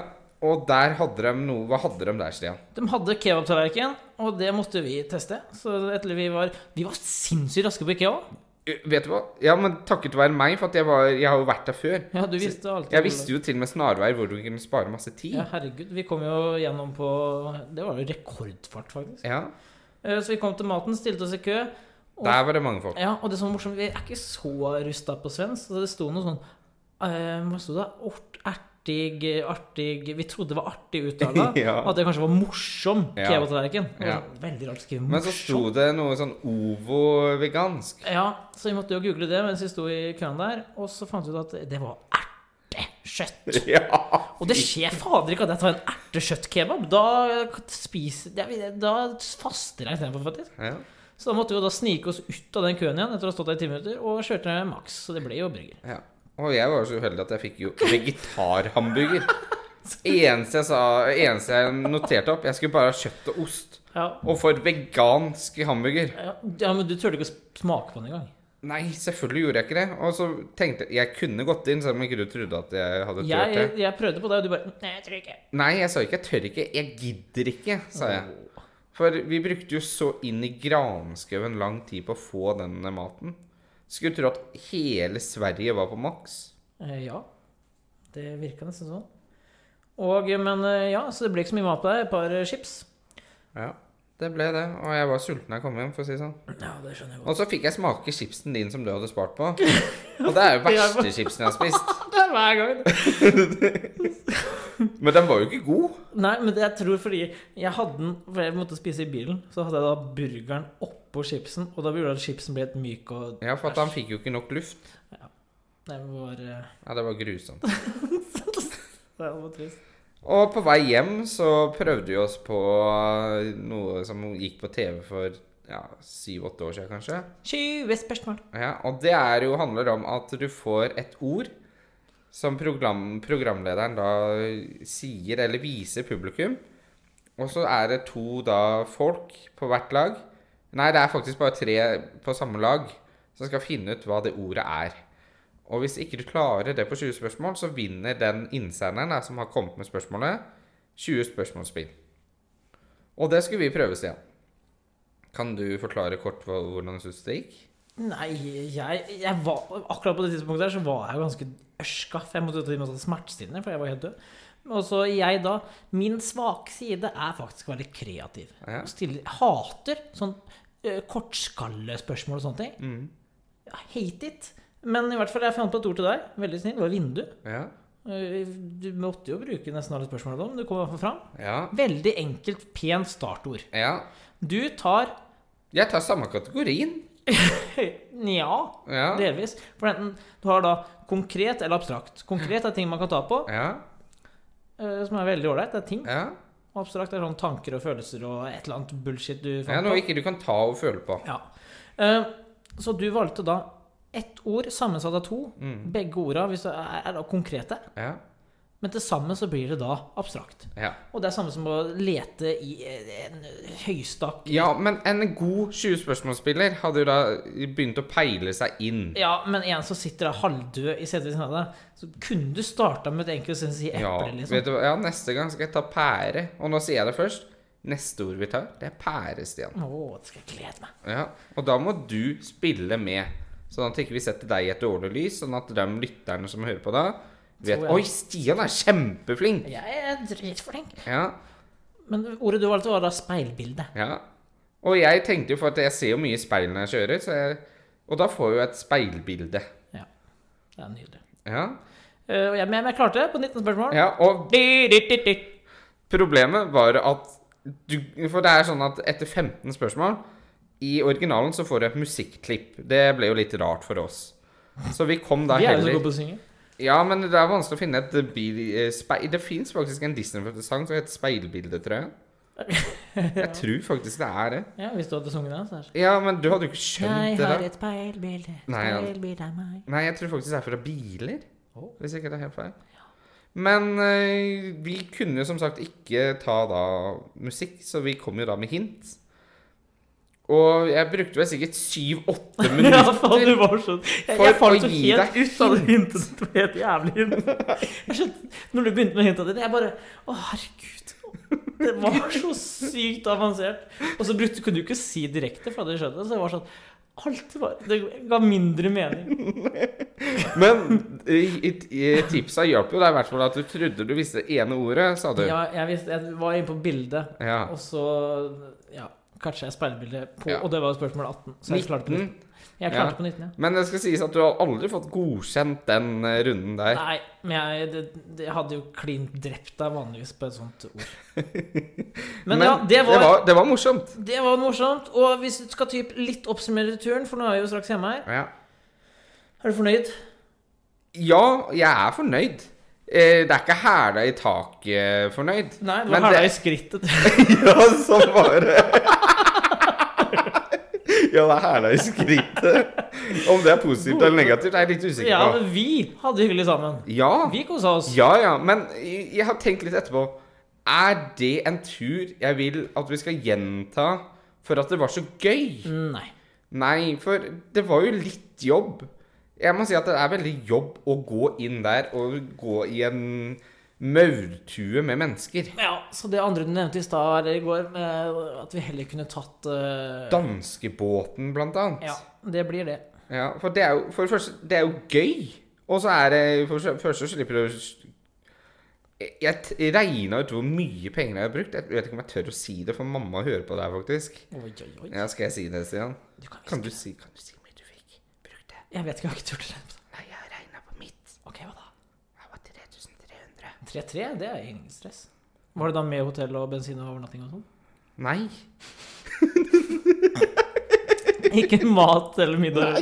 Speaker 2: og der hadde de noe Hva hadde de der, Stian?
Speaker 1: De hadde kebabtallerken, og det måtte vi teste. Så etter vi var Vi var sinnssykt raske på IKEA.
Speaker 2: Uh, Vet du hva? Ja, men takket være meg, for at jeg, var, jeg har jo vært der før.
Speaker 1: Ja, du visste alltid
Speaker 2: Jeg visste jo til og med snarveier hvor du kunne spare masse tid.
Speaker 1: Ja, herregud. Vi kom jo gjennom på Det var jo rekordfart, faktisk.
Speaker 2: Ja,
Speaker 1: Eh, Så vi kom til maten, stilte oss i kø.
Speaker 2: Der var det mange folk.
Speaker 1: Ja, og det som var morsomt, vi er ikke så rusta på svensk, så det sto noe sånn eh, Hva sto det? Ort, ertig, artig Vi trodde det var artig uttala.
Speaker 2: Ja.
Speaker 1: At det kanskje var morsom
Speaker 2: Ja.
Speaker 1: kebabtallerken. Og
Speaker 2: Ja.
Speaker 1: sånn, Veldig rart å skrive
Speaker 2: Men så
Speaker 1: morsom.
Speaker 2: sto det noe sånn ovo-vegansk.
Speaker 1: Ja, så vi måtte jo google det mens vi sto i køen der, og så fant vi ut at det var ert. kjøtt.
Speaker 2: Ja.
Speaker 1: Og det skjer fader ikke at jeg tar en ertekjøttkebab. Da spiser jeg, Da faster jeg istedenfor, faktisk.
Speaker 2: ja.
Speaker 1: Så da måtte vi jo da snike oss ut av den køen igjen etter å ha stått der i ti minutter, og kjørte Max. Så det ble jo burger.
Speaker 2: Ja. Og jeg var så uheldig at jeg fikk jo vegetarhamburger. Eneste jeg, sa, eneste jeg noterte opp Jeg skulle bare ha kjøtt og ost.
Speaker 1: Ja,
Speaker 2: Og for vegansk hamburger.
Speaker 1: ja, ja men du turte ikke å s- smake på den engang.
Speaker 2: Nei, selvfølgelig gjorde jeg ikke det. Og så tenkte jeg Jeg kunne gått inn, selv om ikke du trodde at jeg hadde turt
Speaker 1: Jeg,
Speaker 2: det.
Speaker 1: jeg prøvde på det, og du bare Nei, jeg tror ikke.
Speaker 2: Nei, jeg sa ikke 'jeg tør ikke', 'jeg gidder ikke', sa jeg. For vi brukte jo så inn i granskauen lang tid på å få denne maten. Skulle tro at hele Sverige var på maks.
Speaker 1: Eh, ja. Det virka nesten sånn. Og, men eh, ja, så det ble ikke så mye mat på deg. Et par eh, chips.
Speaker 2: Ja, det ble det. Og jeg var sulten da jeg kom hjem, for å si det sånn.
Speaker 1: Ja, det skjønner jeg
Speaker 2: Og så fikk jeg smake chipsen din som du hadde spart på. Og det er jo verste chipsen jeg har spist.
Speaker 1: Det er hver gang.
Speaker 2: Men den var jo ikke god.
Speaker 1: Nei, men det jeg tror fordi jeg hadde den For jeg måtte spise i bilen. Så hadde jeg da burgeren oppå chipsen, og da gjorde det at chipsen ble helt myk og
Speaker 2: Ja, for at han fikk jo ikke nok luft.
Speaker 1: Nei, det var, eh,
Speaker 2: Ja, det var grusomt.
Speaker 1: det var trist.
Speaker 2: Og på vei hjem så prøvde vi oss på noe som gikk på TV for ja, syv-åtte år siden, kanskje.
Speaker 1: 20 spørsmål.
Speaker 2: Ja, og det er jo, handler om at du får et ord som program, programlederen da sier eller viser publikum. Og så er det to da folk på hvert lag. Nei, det er faktisk bare tre på samme lag som skal finne ut hva det ordet er. Og hvis ikke du klarer det på 20 spørsmål, så vinner den innsenderen da, som har kommet med spørsmålet, 20 spørsmålsspill. Og det skulle vi prøve, Stian. Kan du forklare kort hva, hvordan du syns det gikk?
Speaker 1: Nei, jeg, jeg var Akkurat på det tidspunktet der så var jeg ganske ørska. For jeg måtte jo ta i meg sånn smertestillende, for jeg var helt død. Og så jeg, da Min svake side er faktisk å være litt kreativ.
Speaker 2: Ja.
Speaker 1: Og Stille, hater sånn eh, kortskallespørsmål og sånne ting. Hate it. Men i hvert fall, jeg fant på et ord til deg. Veldig snill. Det var vindu.
Speaker 2: Ja.
Speaker 1: Eh, Du måtte jo bruke nesten alle spørsmålene da, men du kom i hvert fall fram.
Speaker 2: Ja.
Speaker 1: Veldig enkelt, pent startord.
Speaker 2: ja.
Speaker 1: Du tar
Speaker 2: Jeg tar samme kategorien.
Speaker 1: Nja,
Speaker 2: Ja.
Speaker 1: delvis. For enten du har da konkret eller abstrakt. Konkret er ting man kan ta på,
Speaker 2: Ja.
Speaker 1: eh, som er veldig ålreit. Det er ting.
Speaker 2: Ja.
Speaker 1: Og abstrakt er sånn tanker og følelser og et eller annet bullshit du
Speaker 2: ja.
Speaker 1: fant
Speaker 2: Noe
Speaker 1: på.
Speaker 2: ikke du kan ta og føle på.
Speaker 1: Ja. Eh, Så du valgte da ett ord sammensatt av to.
Speaker 2: Mm.
Speaker 1: Begge orda hvis det er, er da konkrete.
Speaker 2: Ja.
Speaker 1: Men til sammen så blir det da abstrakt.
Speaker 2: Ja.
Speaker 1: Og det er samme som å lete i eh, en høystakk
Speaker 2: ja, men en god 20-spørsmålsspiller hadde jo da begynt å peile seg inn.
Speaker 1: Ja, men en som sitter der halvdød i setet ved siden av deg, så kunne du starta med et enkelt sted å si
Speaker 2: Ja,
Speaker 1: eple, liksom.
Speaker 2: vet du hva? ja, neste gang skal jeg ta pære. Og nå sier jeg det først. Neste ord vi tar, det er pære, Stian.
Speaker 1: Å, det skal jeg glede meg.
Speaker 2: Ja. Og da må du spille med. Sånn at ikke vi setter deg i et dårlig lys, sånn at de lytterne som hører på da, vet
Speaker 1: Tror jeg.
Speaker 2: Oi, Stian er kjempeflink!
Speaker 1: Jeg er dritflink.
Speaker 2: Ja.
Speaker 1: Men ordet du valgte, var da speilbilde.
Speaker 2: Ja. Og jeg tenkte jo for at jeg ser jo mye i speilet når jeg kjører, så jeg, og da får jeg jo et speilbilde.
Speaker 1: Ja. Det er nydelig.
Speaker 2: Ja.
Speaker 1: Eh, og jeg, men jeg klarte det på 19 spørsmål.
Speaker 2: ja. Og
Speaker 1: Du, du, du, du.
Speaker 2: problemet var at du For det er sånn at etter 15 spørsmål i originalen så får du et musikklipp. Det ble jo litt rart for oss. Så vi kom da
Speaker 1: Vi er jo så
Speaker 2: heller
Speaker 1: gode på å synge.
Speaker 2: Ja, men det er vanskelig å finne et bil... eh, Speil... Det fins faktisk en Disney-sang som heter Speilbilde, tror jeg. Jeg tror faktisk det er det.
Speaker 1: Ja, hvis du hadde sunget det, sånn. så er det
Speaker 2: Ja, men du hadde jo ikke skjønt
Speaker 1: Jeg
Speaker 2: det.
Speaker 1: har
Speaker 2: da.
Speaker 1: et speilbilde,
Speaker 2: Nei, ja.
Speaker 1: speilbilde er meg.
Speaker 2: Nei, jeg tror faktisk det er fra biler.
Speaker 1: Å.
Speaker 2: Hvis ikke det er helt feil. Men eh, vi kunne jo som sagt ikke ta da musikk, så vi kom jo da med hint. Og jeg brukte vel sikkert syv-åtte
Speaker 1: Ja, faen, du
Speaker 2: minutter.
Speaker 1: var så Jeg,
Speaker 2: For
Speaker 1: jeg
Speaker 2: å
Speaker 1: falt så
Speaker 2: gi
Speaker 1: helt
Speaker 2: deg
Speaker 1: ut av det hintet ditt. Det var helt jævlig hint. Jeg skjønte, når du begynte med hintet ditt, jeg bare Å, herregud. Det var så sykt avansert. Og så brukte, kunne du ikke si direkte, for det skjønte jeg. Så det var sånn Alt var Det ga mindre mening.
Speaker 2: Men eh, i- i- tipsa hjalp jo deg i hvert fall at du trodde du visste det ene ordet, sa du.
Speaker 1: Ja, jeg, visste, jeg var inne på bildet,
Speaker 2: Ja.
Speaker 1: og så Ja, kanskje jeg speilbildet på
Speaker 2: Ja.
Speaker 1: Og det var spørsmål 18, så jeg klarte på 19.
Speaker 2: 19.
Speaker 1: Jeg
Speaker 2: Ja.
Speaker 1: klarte på 19, ja.
Speaker 2: Men det skal sies at du har aldri fått godkjent den eh, runden der.
Speaker 1: Nei, men jeg, det, det, jeg hadde jo klint drept deg vanligvis på et sånt ord. Men, ja, det var,
Speaker 2: det, var, det var morsomt.
Speaker 1: det var morsomt. Og hvis du skal typ litt oppsummere turen, for nå er vi jo straks hjemme her
Speaker 2: Ja.
Speaker 1: Er du fornøyd?
Speaker 2: ja, jeg er fornøyd. eh, Det er ikke hæla i taket fornøyd.
Speaker 1: Nei, det
Speaker 2: Men
Speaker 1: var hæla
Speaker 2: det-
Speaker 1: i skrittet.
Speaker 2: Ja, sånn var det. Ja, det er hæla i skrittet. Om det er positivt eller negativt, er jeg litt usikker
Speaker 1: Ja,
Speaker 2: på.
Speaker 1: men vi hadde det hyggelig sammen.
Speaker 2: Ja,
Speaker 1: Vi kosa oss.
Speaker 2: ja, ja. Men jeg jeg har tenkt litt etterpå. Er det en tur jeg vil at vi skal gjenta for at det var så gøy?
Speaker 1: Nei.
Speaker 2: Nei, for det var jo litt jobb. Jeg må si at det er veldig jobb å gå inn der og gå i en maurtue med mennesker.
Speaker 1: Ja, så det andre du nevnte i stad eller i går, med at vi heller kunne tatt eh,
Speaker 2: Danskebåten, blant annet.
Speaker 1: Ja, det blir det.
Speaker 2: Ja, for det er jo, for det første, det er jo gøy. Og så er det For det første så slipper du å s- Jeg- Jeg regna ut hvor mye penger jeg har brukt. Jeg vet ikke om jeg tør å si det, for mamma hører på det her, faktisk.
Speaker 1: Oi, oi, oi.
Speaker 2: Ja, Skal jeg si det, Stian?
Speaker 1: Du kan
Speaker 2: Kan
Speaker 1: hviske.
Speaker 2: du si, kan du si hvor mye du fikk? Bruk det.
Speaker 1: Jeg vet ikke, jeg har ikke turt å regne på det.
Speaker 2: Nei, jeg regna på mitt.
Speaker 1: Ok, hva da?
Speaker 2: Det var
Speaker 1: 3-3,
Speaker 2: 3300.
Speaker 1: det er ingen stress. Var det da med hotell og bensin og overnatting og sånn?
Speaker 2: Nei.
Speaker 1: Ikke mat eller middag?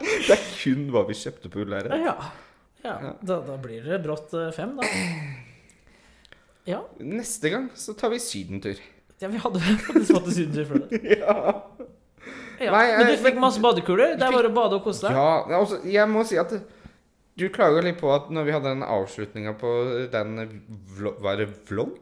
Speaker 2: Det er kun hva vi kjøpte på Ullæret.
Speaker 1: Ja. ja. Da, da blir det brått eh, fem, da. Ja,
Speaker 2: Neste gang så tar vi sydentur.
Speaker 1: ja vi hadde faktisk fått en sydentur før det.
Speaker 2: Ja.
Speaker 1: Ja.
Speaker 2: Nei,
Speaker 1: Men
Speaker 2: eh,
Speaker 1: du fikk
Speaker 2: men-
Speaker 1: masse badekuler. Det er bare å bade og kose deg.
Speaker 2: Ja, altså, jeg må si at du klaga litt på at når vi hadde den avslutninga på den vlo Var det vlogg?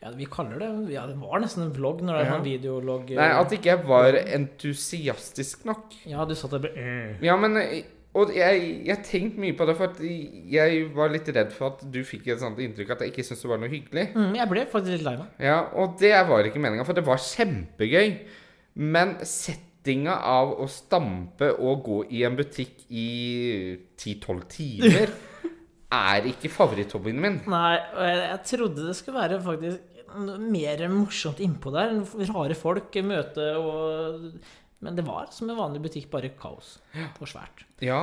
Speaker 1: Ja, vi kaller det ja, Det var nesten en vlogg når det er
Speaker 2: Ja.
Speaker 1: sånn videologg.
Speaker 2: Nei, at ikke jeg var entusiastisk nok.
Speaker 1: Ja, du satt der bare eh.
Speaker 2: Ja, men eh, Og jeg, jeg tenkte mye på det, for at jeg var litt redd for at du fikk et sånt inntrykk at jeg ikke syntes det var noe hyggelig.
Speaker 1: mm, Jeg ble faktisk litt lei meg.
Speaker 2: Ja, og det var ikke meninga, for det var kjempegøy. Men settinga av å stampe og gå i en butikk i 10-12 timer er ikke favoritthobbyen min.
Speaker 1: Nei, og jeg, jeg trodde det skulle være faktisk noe mer morsomt innpå der. Rare folk, møte og Men det var som en vanlig butikk, bare kaos og svært.
Speaker 2: Ja.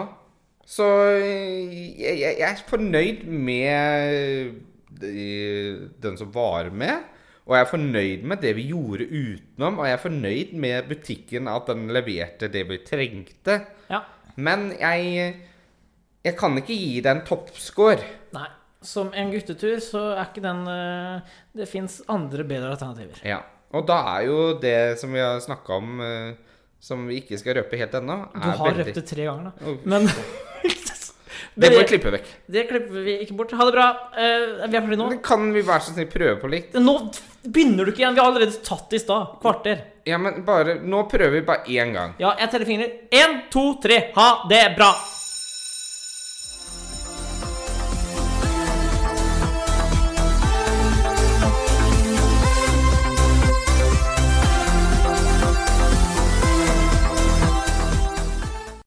Speaker 2: Så eh, jeg, jeg jeg er fornøyd med de- den som var med. Og jeg er fornøyd med det vi gjorde utenom, og jeg er fornøyd med butikken, at den leverte det vi trengte.
Speaker 1: Ja.
Speaker 2: Men jeg Jeg kan ikke gi deg en toppscore.
Speaker 1: Nei. Som en guttetur så er ikke den eh, Det fins andre bedre alternativer.
Speaker 2: Ja. Og da er jo det som vi har snakka om, eh, som vi ikke skal røpe helt ennå
Speaker 1: Du har røpt det tre ganger, da.
Speaker 2: Oh.
Speaker 1: Men
Speaker 2: Det må
Speaker 1: det,
Speaker 2: vi klippe vekk.
Speaker 1: det klipper vi ikke bort. Ha det bra. Eh, vi er ferdige nå.
Speaker 2: Men Kan vi være så snill prøve på likt?
Speaker 1: Nå begynner du ikke igjen. Vi har allerede tatt i stad. Kvarter.
Speaker 2: Ja, men bare Nå prøver vi bare én gang.
Speaker 1: Ja, jeg teller fingre. Én, to, tre. Ha det bra.